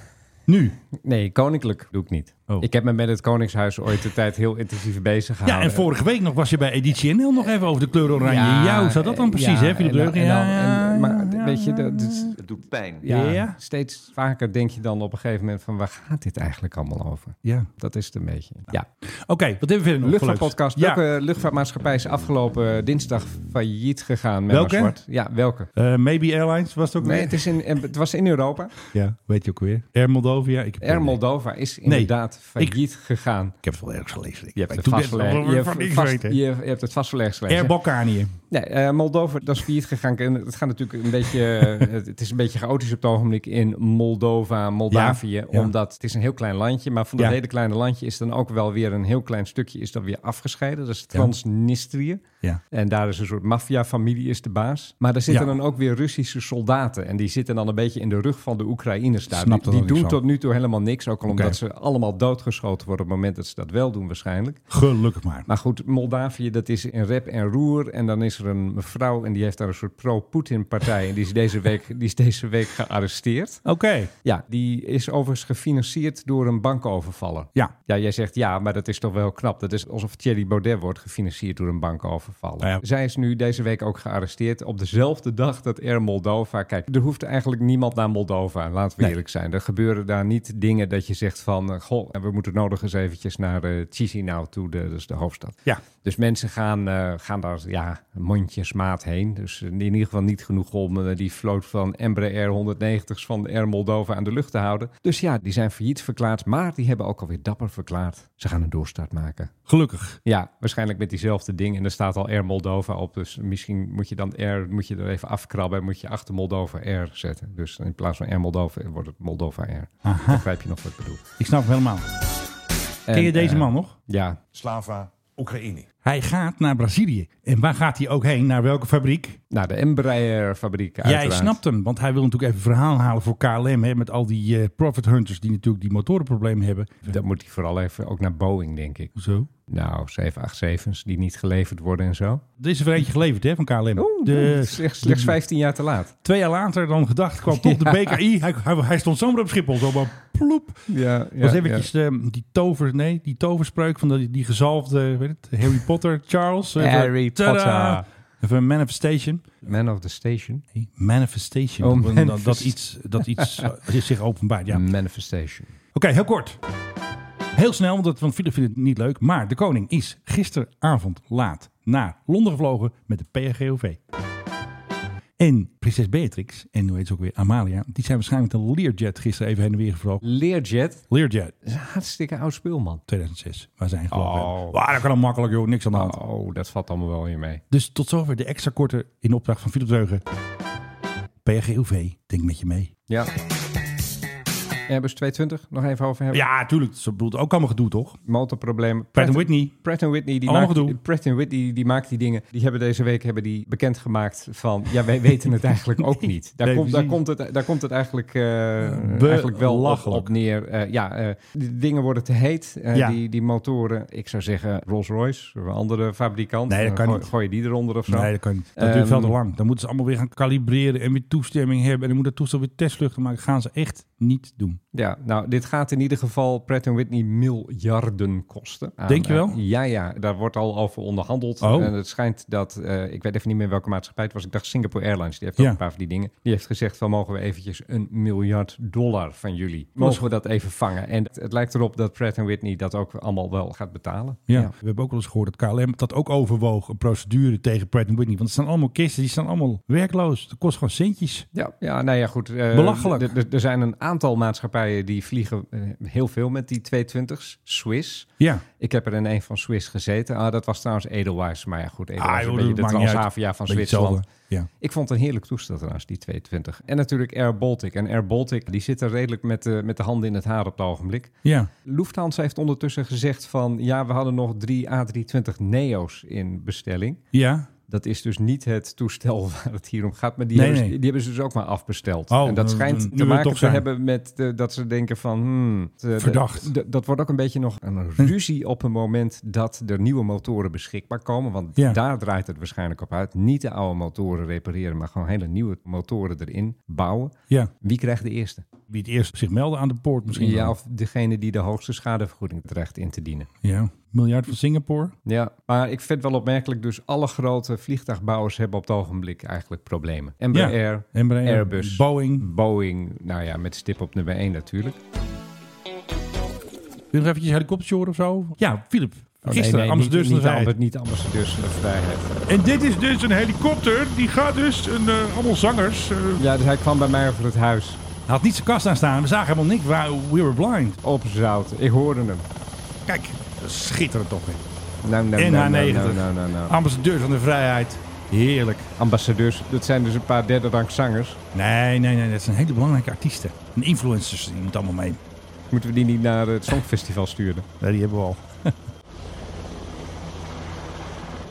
S4: Nu?
S5: Nee, koninklijk doe ik niet.
S4: Oh.
S5: Ik heb me met het Koningshuis ooit de tijd heel intensief bezig
S4: Ja,
S5: gehouden.
S4: en vorige week nog was je bij Editie NL nog even over de kleur oranje. Ja, hoe zat dat dan precies,
S5: eh, ja,
S4: hè, Philip
S5: en dan-
S4: Leugen?
S5: en
S4: Ja,
S5: dan-
S4: ja,
S5: en-
S4: ja,
S5: Maar
S4: ja,
S5: weet je,
S4: ja,
S5: dat, is-
S6: Het doet pijn.
S5: ja,
S4: Ja.
S5: steeds vaker denk je dan op een gegeven moment van waar gaat dit eigenlijk allemaal over?
S4: ja.
S5: Dat is het een beetje. Ja.
S4: Oké, wat hebben we verder nog? voor leuks?
S5: Luchtvaartpodcast.
S4: Nou, Ja.
S5: Welke luchtvaartmaatschappij is afgelopen dinsdag failliet gegaan? Met
S4: Welke?
S5: Zwart? Ja, welke?
S4: Eh, Maybe Airlines was het ook
S5: Nee,
S4: weer?
S5: het, is in, het was in Europa.
S4: Ja, weet je ook weer. Air Moldovia. Ik heb,
S5: Air Moldova is inderdaad failliet gegaan.
S4: Ik heb het wel ergens gelezen. Ik,
S5: Je hebt,
S4: ik
S5: het
S4: doe dit
S5: vastgelegd.
S4: alsof ik
S5: Je, hebt
S4: van niks
S5: vast-
S4: weet, hè.
S5: je, je hebt het vastgelegd. gelezen.
S4: Air Balkanië.
S5: Nee, eh, Moldova, dat is failliet gegaan. En het gaat natuurlijk een beetje. eh, het, het is een beetje chaotisch op het ogenblik in Moldova, Moldavië.
S4: Ja, ja.
S5: Omdat het is een heel klein landje. Maar van dat
S4: Ja.
S5: hele kleine landje is dan ook wel weer een heel klein stukje is dan weer afgescheiden. Dat is Transnistrië.
S4: Ja.
S5: En daar is een soort maffiafamilie is de baas. Maar daar zitten
S4: Ja.
S5: dan ook weer Russische soldaten. En die zitten dan een beetje in de rug van de Oekraïners daar.
S4: Snap
S5: die
S4: dat ook
S5: die
S4: niet
S5: doen
S4: zo.
S5: tot nu toe helemaal niks. Ook al
S4: Oké.
S5: omdat ze allemaal doodgeschoten worden op het moment dat ze dat wel doen waarschijnlijk.
S4: Gelukkig maar.
S5: Maar goed, Moldavië, dat is in rep en roer. En dan is er een mevrouw en die heeft daar een soort pro-Putin-partij. En die is, deze week, die is deze week gearresteerd.
S4: Oké.
S5: Ja, die is overigens gefinancierd door een bankovervaller.
S4: Ja.
S5: Ja, jij zegt ja, maar dat is toch wel knap. Dat is alsof Thierry Baudet wordt gefinancierd door een bankovervaller.
S4: Nou Ja.
S5: Zij is nu deze week ook gearresteerd op dezelfde dag dat Air Moldova... Kijk, er hoeft eigenlijk niemand naar Moldova, laten we
S4: Nee.
S5: eerlijk zijn. Er gebeuren daar niet dingen dat je zegt van... eh, Goh, we moeten nodig eens eventjes naar eh Chisinau toe, de, dus de hoofdstad.
S4: Ja.
S5: Dus mensen gaan, eh, gaan daar ja, mondjesmaat heen. Dus in ieder geval niet genoeg om eh, die vloot van Embraer 190's van Air Moldova aan de lucht te houden. Dus ja, die zijn failliet verklaard, maar die hebben ook alweer dapper verklaard. Ze gaan een doorstart maken.
S4: Gelukkig.
S5: Ja, waarschijnlijk met diezelfde ding. En er staat al Air Moldova op. Dus misschien moet je dan Air, moet je er even afkrabben en moet je achter Moldova Air zetten. Dus in plaats van Air Moldova wordt het Moldova Air. Begrijp je nog wat ik bedoel?
S4: Ik snap hem helemaal. Ken je
S5: En,
S4: deze
S5: eh,
S4: man nog?
S5: Ja,
S2: Slava, Oekraïne.
S4: Hij gaat naar Brazilië. En waar gaat hij ook heen? Naar welke fabriek?
S5: nou de Embraer fabriek
S4: Jij
S5: uiteraard.
S4: snapt hem, want hij wil natuurlijk even verhaal halen voor KLM. Hè, met al die eh, profit hunters die natuurlijk die motorenproblemen hebben.
S5: Dat moet hij vooral even ook naar Boeing, denk ik.
S4: Hoezo?
S5: Nou, 787's die niet geleverd worden en zo. Dus
S4: Er is er eentje geleverd hè, van KLM.
S5: De-
S4: De-
S5: slechts, slechts 15 jaar te laat.
S4: Twee jaar later dan gedacht kwam toch de BKI. Hij, hij, hij stond zomaar op Schiphol. Zomaar ploep.
S5: Ja, ja,
S4: was eventjes ehm, die, tover, nee, die toverspreuk van die, die gezalfde weet het, Harry Potter, Charles. eh,
S5: Harry
S4: tada!
S5: Potter.
S4: Even een manifestation.
S5: Man of the Station.
S4: Nee, Manifestation.
S5: Oh,
S4: Dat- dat-
S5: manifest-
S4: Dat iets, dat iets eh, zich openbaart. Ja. Oké,
S5: Manifestation.
S4: heel kort. Heel snel, want dat- want Philip vindt het niet leuk. Maar de koning is gisteravond laat naar Londen gevlogen met de PRGOV. En prinses Beatrix, en hoe heet ze ook weer, Amalia... die zijn waarschijnlijk met een Learjet gisteren even heen en weer gevlogen.
S5: Learjet.
S4: Learjet,
S5: is een hartstikke oud speelman.
S4: 2006, waar zijn gevlogen.
S5: Oh.
S4: hebben. Waar, dat kan dan makkelijk, joh. Niks aan de hand.
S5: Oh, dat valt allemaal wel weer mee.
S4: Dus tot zover de extra korte in opdracht van Philip Dreugen. PRGOV, denk met je mee.
S5: Ja. Airbus 220 nog even over hebben.
S4: Ja, tuurlijk. Ze bedoelt ook allemaal gedoe, toch?
S5: Motorproblemen.
S4: Pratt Whitney.
S5: Pratt Whitney, die
S4: Allemaal
S5: maakt,
S4: gedoe.
S5: Pratt Whitney die maakt die dingen. Die hebben deze week hebben die bekendgemaakt van... Ja, wij weten het eigenlijk ook niet. Daar,
S4: nee,
S5: komt, daar,
S4: precies.
S5: komt, het, daar komt het eigenlijk, eh eigenlijk wel op,
S4: Belachelijk.
S5: op neer. Eh, ja, eh, die dingen worden te heet. Eh,
S4: Ja.
S5: die, die motoren, ik zou zeggen Rolls-Royce, een andere fabrikant.
S4: Nee, dat
S5: Eh,
S4: kan
S5: gooi,
S4: niet.
S5: gooi je die eronder of zo.
S4: Nee, dat kan niet. Dat
S5: Ehm,
S4: duurt veel te lang. Dan moeten ze allemaal weer gaan kalibreren en weer toestemming hebben. En dan moet dat toestel weer testvluchten maken. Dat gaan ze echt niet doen.
S5: Ja, nou, dit gaat in ieder geval Pratt Whitney miljarden kosten. Aan,
S4: Denk je wel?
S5: eh, ja, ja, daar wordt al over onderhandeld.
S4: Oh.
S5: En het schijnt dat, eh, ik weet even niet meer welke maatschappij het was. Ik dacht Singapore Airlines, die heeft
S4: Ja.
S5: ook een paar van die dingen. Die heeft gezegd van, mogen we eventjes een miljard dollar van jullie? Mogen we dat even vangen? En het, het lijkt erop dat Pratt Whitney dat ook allemaal wel gaat betalen.
S4: Ja. We hebben ook wel eens gehoord dat KLM dat ook overwoog. Een procedure tegen Pratt Whitney. Want het staan allemaal kisten. Die staan allemaal werkloos. Dat kost gewoon centjes.
S5: Ja, ja nou ja, goed. eh,
S4: Belachelijk.
S5: d- d- Er zijn een aantal maatschappijen die vliegen eh, heel veel met die 220's. Swiss.
S4: Ja.
S5: Ik heb er in een van Swiss gezeten. Ah, dat was trouwens Edelweiss. Maar ja, goed, Edelweiss
S4: Ah,
S5: is
S4: joh,
S5: een beetje
S4: dat
S5: de
S4: maakt niet uit.
S5: Transavia van
S4: Beetje
S5: Zwitserland.
S4: hetzelfde. Ja.
S5: Ik vond het een heerlijk toestel trouwens, die 220. En natuurlijk Air Baltic. En Air Baltic, die zit er redelijk met de, met de handen in het haar op het ogenblik.
S4: Ja.
S5: Lufthansa heeft ondertussen gezegd van... ja, we hadden nog drie A320neo's in bestelling.
S4: Ja.
S5: Dat is dus niet het toestel waar het hier om gaat. Maar die,
S4: Nee,
S5: hebben, ze-
S4: nee.
S5: die hebben ze dus ook maar afbesteld.
S4: Oh,
S5: en dat
S4: dan-
S5: schijnt
S4: dan- nu
S5: te
S4: we
S5: maken
S4: toch
S5: te
S4: zijn.
S5: hebben met eh, dat ze denken van... hmm, eh, d-
S4: Verdacht. Hm.
S5: d- dat wordt ook een beetje nog een ruzie op het moment dat er nieuwe motoren beschikbaar komen. Want
S4: Ja.
S5: daar draait het waarschijnlijk op uit. Niet de oude motoren repareren, maar gewoon hele nieuwe motoren erin bouwen.
S4: Ja.
S5: Wie krijgt de eerste?
S4: Wie het eerst zich melden aan de poort misschien.
S5: Ja,
S4: wel.
S5: of degene die de hoogste schadevergoeding dreigt in te dienen.
S4: ja. Miljard van Singapore.
S5: Ja, maar ik vind het wel opmerkelijk. Dus alle grote vliegtuigbouwers hebben op het ogenblik eigenlijk problemen.
S4: Ja.
S5: Embraer,
S4: Embraer,
S5: Airbus,
S4: Boeing.
S5: Boeing, nou ja, met stip op nummer 1 natuurlijk.
S4: Wil je nog eventjes helikoptertje horen of zo? Ja, Philip. Gisteren,
S5: Oh, nee,
S4: Amsterdam.
S5: niet, niet, Amber- niet Ambassadeurs van de Vrijheid.
S4: En dit is dus een helikopter. Die gaat dus een, eh, allemaal zangers. eh,
S5: Ja, dus hij kwam bij mij over het huis.
S4: had niet zijn kast aan staan. We zagen helemaal niks. We we were blind.
S5: Opzout. Ik hoorde hem.
S4: Kijk, schitterend toch. Hè.
S5: Nou, nou, nou, nou,
S4: NH90.
S5: nou, nou, nou, nou.
S4: Ambassadeur van de vrijheid. Heerlijk.
S5: Ambassadeurs, dat zijn dus een paar derde rank zangers.
S4: Nee, nee, nee. Dat zijn hele belangrijke artiesten. En influencers. Die moeten allemaal mee.
S5: Moeten we die niet naar het Songfestival sturen?
S4: Nee, die hebben we al.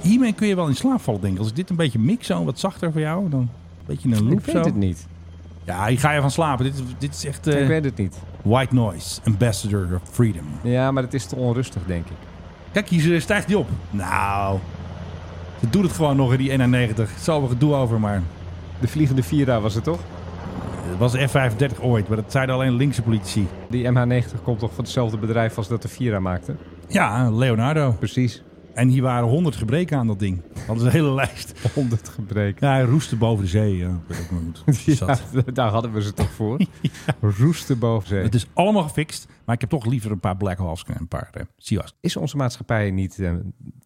S4: Hiermee kun je wel in slaap vallen, denk ik. Als ik dit een beetje mix, zo wat zachter voor jou, dan een beetje een loop
S5: ik weet
S4: zo.
S5: het niet.
S4: Ja, hier ga je van slapen. Dit, is- dit is echt eh,
S5: Ik weet het niet.
S4: white noise, ambassador of freedom.
S5: Ja, maar het is te onrustig, denk ik.
S4: Kijk, hier stijgt die op. Nou, ze doet het gewoon nog in die NA90. Zal wel gedoe over, maar
S5: De Vliegende Vira was het toch?
S4: het was F35 ooit. Maar dat zeiden alleen linkse politici.
S5: Die MH90 komt toch van hetzelfde bedrijf als dat de Vira maakte?
S4: Ja, Leonardo.
S5: Precies.
S4: En hier waren honderd gebreken aan dat ding. Dat is een hele lijst.
S5: 100 gebreken.
S4: Ja, hij roestte boven de zee. Ja, ik weet ook niet hoe het zat.
S5: daar hadden we ze toch voor. Roesten boven zee.
S4: Het is allemaal gefixt, maar ik heb toch liever een paar Black Hawks en een paar eh, Sea Hawks.
S5: Is onze maatschappij niet, eh,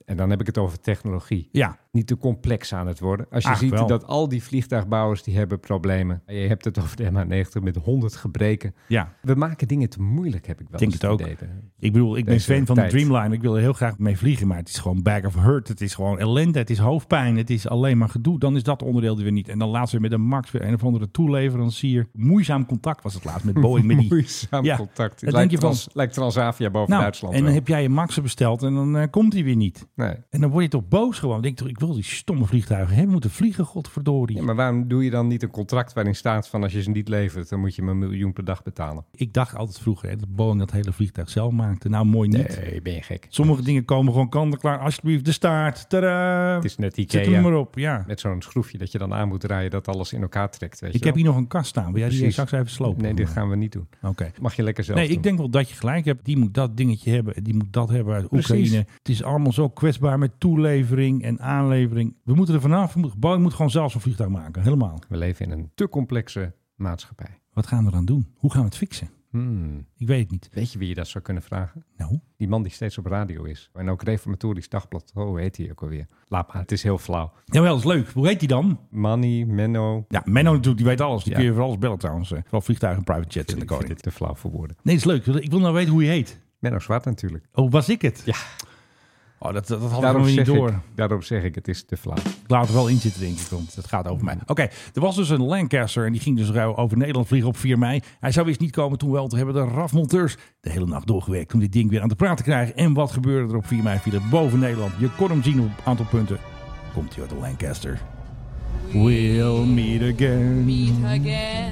S5: en dan heb ik het over technologie,
S4: Ja,
S5: niet te complex aan het worden? Als je
S4: Ach,
S5: ziet
S4: Ah, wel.
S5: dat al die vliegtuigbouwers die hebben problemen. Je hebt het over de MH90 met 100 gebreken.
S4: ja.
S5: We maken dingen te moeilijk, heb ik wel
S4: Denk
S5: eens
S4: het ook.
S5: idee.
S4: Ik bedoel, ik ben
S5: Deze
S4: fan van de
S5: tijd.
S4: Dreamline. Ik wil er heel graag mee vliegen, maar het is gewoon bag of hurt. Het is gewoon ellende, het is hoofdpijn, het is alleen maar gedoe. Dan is dat onderdeel er weer niet. En dan laatst weer met een Max weer een of andere toeleverancier. Moeizaam contact was het laatst met Boeing. Met die...
S5: Moeizaam
S4: Ja,
S5: contact.
S4: dat
S5: Het
S4: denk
S5: lijkt,
S4: je van-
S5: trans, lijkt Transavia boven
S4: Nou,
S5: Duitsland.
S4: en dan
S5: wel.
S4: heb jij je Maxen besteld en dan eh, komt hij weer niet.
S5: nee.
S4: En dan word je toch boos gewoon. Dan Denk je toch, ik wil die stomme vliegtuigen hebben moeten vliegen, godverdorie.
S5: Ja, maar waarom doe je dan niet een contract waarin staat van als je ze niet levert, dan moet je me een miljoen per dag betalen?
S4: Ik dacht altijd vroeger hè, dat Boeing dat hele vliegtuig zelf maakte. Nou, mooi niet.
S5: ben je gek.
S4: Sommige dingen komen gewoon kant en klaar. Alsjeblieft, de staart. Tada.
S5: Het is net
S4: Zet hem
S5: Ikea
S4: maar op, ja.
S5: met zo'n schroefje dat je dan aan moet draaien dat alles in elkaar trekt. Weet
S4: Ik
S5: je
S4: heb
S5: wel?
S4: hier nog een kast staan. Wil jij die eh,
S5: Precies.
S4: straks even slopen?
S5: Nee, dit gaan we niet doen.
S4: Oké.
S5: Mag je lekker zelf
S4: Nee, ik
S5: doen.
S4: denk wel dat je gelijk hebt. Die moet dat dingetje hebben. en Die moet dat hebben uit
S5: Precies.
S4: Oekraïne. Het is allemaal zo kwetsbaar met toelevering en aanlevering. We moeten er vanaf. We moeten- Boeing moet gewoon zelfs een vliegtuig maken. Helemaal.
S5: We leven in een te complexe maatschappij.
S4: Wat gaan we eraan doen? Hoe gaan we het fixen?
S5: Hmm.
S4: Ik weet het niet.
S5: Weet je wie je dat zou kunnen vragen?
S4: Nou,
S5: Die man die steeds op radio is. En ook Reformatorisch Dagblad. Oh, hoe heet hij ook alweer? Laat maar, het is heel flauw.
S4: jawel, dat is leuk. Hoe heet die dan?
S5: Manny, Menno.
S4: Ja, Menno natuurlijk. Die weet alles. Die
S5: Ja.
S4: kun je voor alles bellen trouwens. eh, Vooral vliegtuigen en private jets in de
S5: Ik vind
S4: koning.
S5: dit te flauw voor woorden.
S4: Nee, dat is leuk. Ik wil nou weten hoe je heet.
S5: Menno Zwart natuurlijk.
S4: Oh, was ik het?
S5: Ja.
S4: Oh, dat, dat had ik
S5: Daarom
S4: nog niet
S5: zeg,
S4: door.
S5: ik, daarom zeg ik, het is te flauw.
S4: Ik laat er wel in zitten, denk ik, want het gaat over mij. Oké, er was dus een Lancaster en die ging dus ruil over Nederland vliegen op 4 mei. Hij zou eens niet komen toen wel, toen hebben de RAF-monteurs de hele nacht doorgewerkt om dit ding weer aan de praat te krijgen. En wat gebeurde er op 4 mei? Viel het boven Nederland. Je kon hem zien op een aantal punten. Komt hij uit de Lancaster. We'll meet again.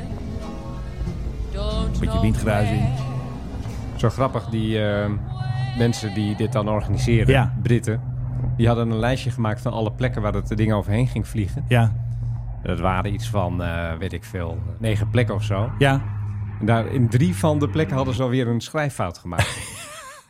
S4: Beetje windgeruis in.
S5: Zo grappig, die eh, mensen die dit dan organiseren,
S4: Ja.
S5: Britten, die hadden een lijstje gemaakt van alle plekken waar het ding overheen ging vliegen.
S4: Ja,
S5: Dat waren iets van, eh, weet ik veel, negen plekken of zo.
S4: ja.
S5: En daar in drie van de plekken hadden ze alweer een schrijffout gemaakt.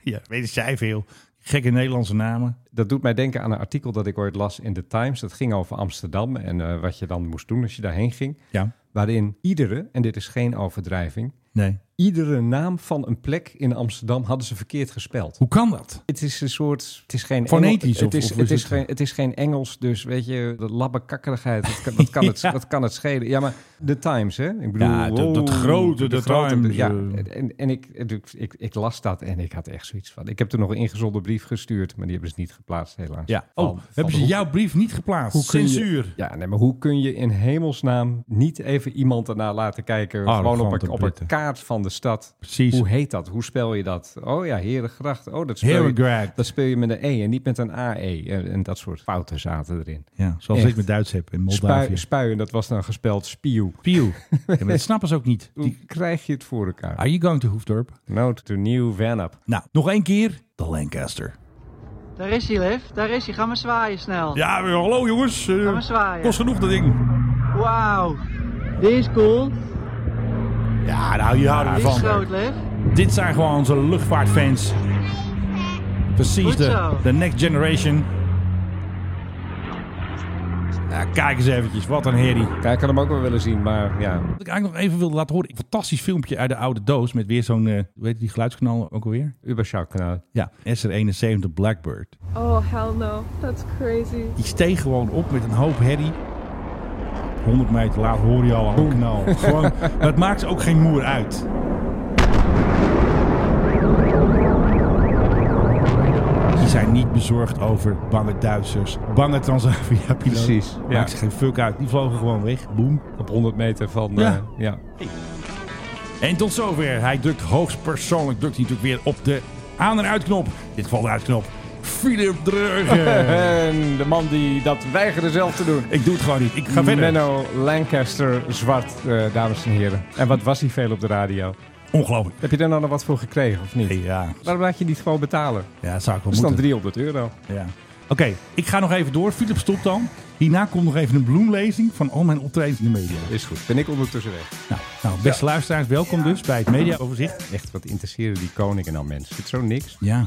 S4: Ja, weten zij veel. Gekke Nederlandse namen.
S5: dat doet mij denken aan een artikel dat ik ooit las in The Times. Dat ging over Amsterdam en eh, wat je dan moest doen als je daarheen ging.
S4: Ja,
S5: Waarin iedere, en dit is geen overdrijving,
S4: nee.
S5: iedere naam van een plek in Amsterdam hadden ze verkeerd gespeld.
S4: Hoe kan dat?
S5: Het is een soort. Het is geen.
S4: Fonetisch
S5: Engels-
S4: of-
S5: het, is,
S4: of is
S5: het, is
S4: het-
S5: geen, het is geen Engels, dus weet je, de labbekakkerigheid. Dat kan, dat kan, het,
S4: Ja.
S5: dat kan het schelen. Ja, maar The Times, hè? Ik bedoel,
S4: Ja, dat- dat grote
S5: de
S4: The
S5: grote-
S4: Times,
S5: Ja,
S4: eh.
S5: en, en ik, ik, ik, ik las dat en ik had echt zoiets van. Ik heb er nog een ingezonden brief gestuurd, maar die hebben ze niet geplaatst, helaas.
S4: Ja.
S5: Van-
S4: Oh,
S5: van
S4: hebben ze
S5: hoe-
S4: jouw brief niet geplaatst?
S5: Hoe kun je-
S4: Censuur.
S5: Ja, nee, maar hoe kun je in hemelsnaam niet even iemand ernaar laten kijken? gewoon op
S4: Arrogante
S5: een, op
S4: Britten.
S5: een kaart van de stad.
S4: Precies.
S5: Hoe heet dat? Hoe spel je dat? Oh ja, Herengracht. Oh, dat speel,
S4: Herengracht.
S5: je, dat speel je met een E en niet met een AE. En, en dat soort fouten zaten erin.
S4: Ja, zoals
S5: Echt.
S4: ik met Duits heb in Moldavië.
S5: Spui, spuien, dat was dan gespeld spiew.
S4: Piu. Ja, maar dat snappen ze ook niet.
S5: Hoe krijg je het voor elkaar?
S4: Are you going to Hoefdorp?
S5: Note to new Vanap.
S4: Nou, nog één keer. De Lancaster.
S8: Daar is hij, Liv. Daar is hij. Ga maar zwaaien snel.
S4: Ja, hallo jongens. Eh,
S8: Ga maar zwaaien.
S4: kost genoeg dat ding.
S8: Wauw. Dit is cool.
S4: Ja, nou hier houden we
S8: Dit is
S4: van.
S8: groot, Liv.
S4: Dit zijn gewoon onze luchtvaartfans. Precies
S8: Goed
S4: de,
S8: zo.
S4: de next generation. Ja, Nou, kijk eens eventjes. Wat een herrie.
S5: Ja, ik had hem ook wel willen zien, maar ja.
S4: Wat ik eigenlijk nog even wilde laten horen. Een fantastisch filmpje uit de oude doos. Met weer zo'n, eh, hoe heet die geluidsknal ook alweer?
S5: Uberschouwkanaal.
S4: Ja, SR71 Blackbird.
S11: Oh, hell no. That's crazy.
S4: Die steeg gewoon op met een hoop herrie. 100 meter later hoor je al een knal. Gewoon, het maakt ook geen moer uit. Die zijn niet bezorgd over bange Duitsers, bange Transavia-piloten.
S5: Precies, ja.
S4: Maakt ze geen fuck uit. Die vlogen gewoon weg. Boom.
S5: Op 100 meter van...
S4: Ja.
S5: eh, ja.
S4: En tot zover. Hij drukt hoogstpersoonlijk drukt hij natuurlijk weer op de aan- en uitknop. In dit geval de uitknop. Philip Dreugen.
S5: En de man die dat weigerde zelf te doen.
S4: Ik doe het gewoon niet. Ik ga verder.
S5: Menno Lancaster, zwart, eh, dames en heren. En wat was hij veel op de radio?
S4: Ongelooflijk.
S5: Heb je daar nou nog wat voor gekregen of niet?
S4: Ja,
S5: Waarom laat je niet gewoon betalen?
S4: ja dat zou ik wel
S5: Dat is dan
S4: moeten.
S5: 300 euro.
S4: Ja. Oké, ik ga nog even door. Philip, stopt dan. Hierna komt nog even een bloemlezing van al mijn optredens in de media.
S5: Is goed. Ben ik ondertussen weg.
S4: Nou, nou beste luisteraars, welkom dus bij het mediaoverzicht.
S5: Echt, wat interesseren die koningen nou mensen? Is het zo niks?
S4: Ja,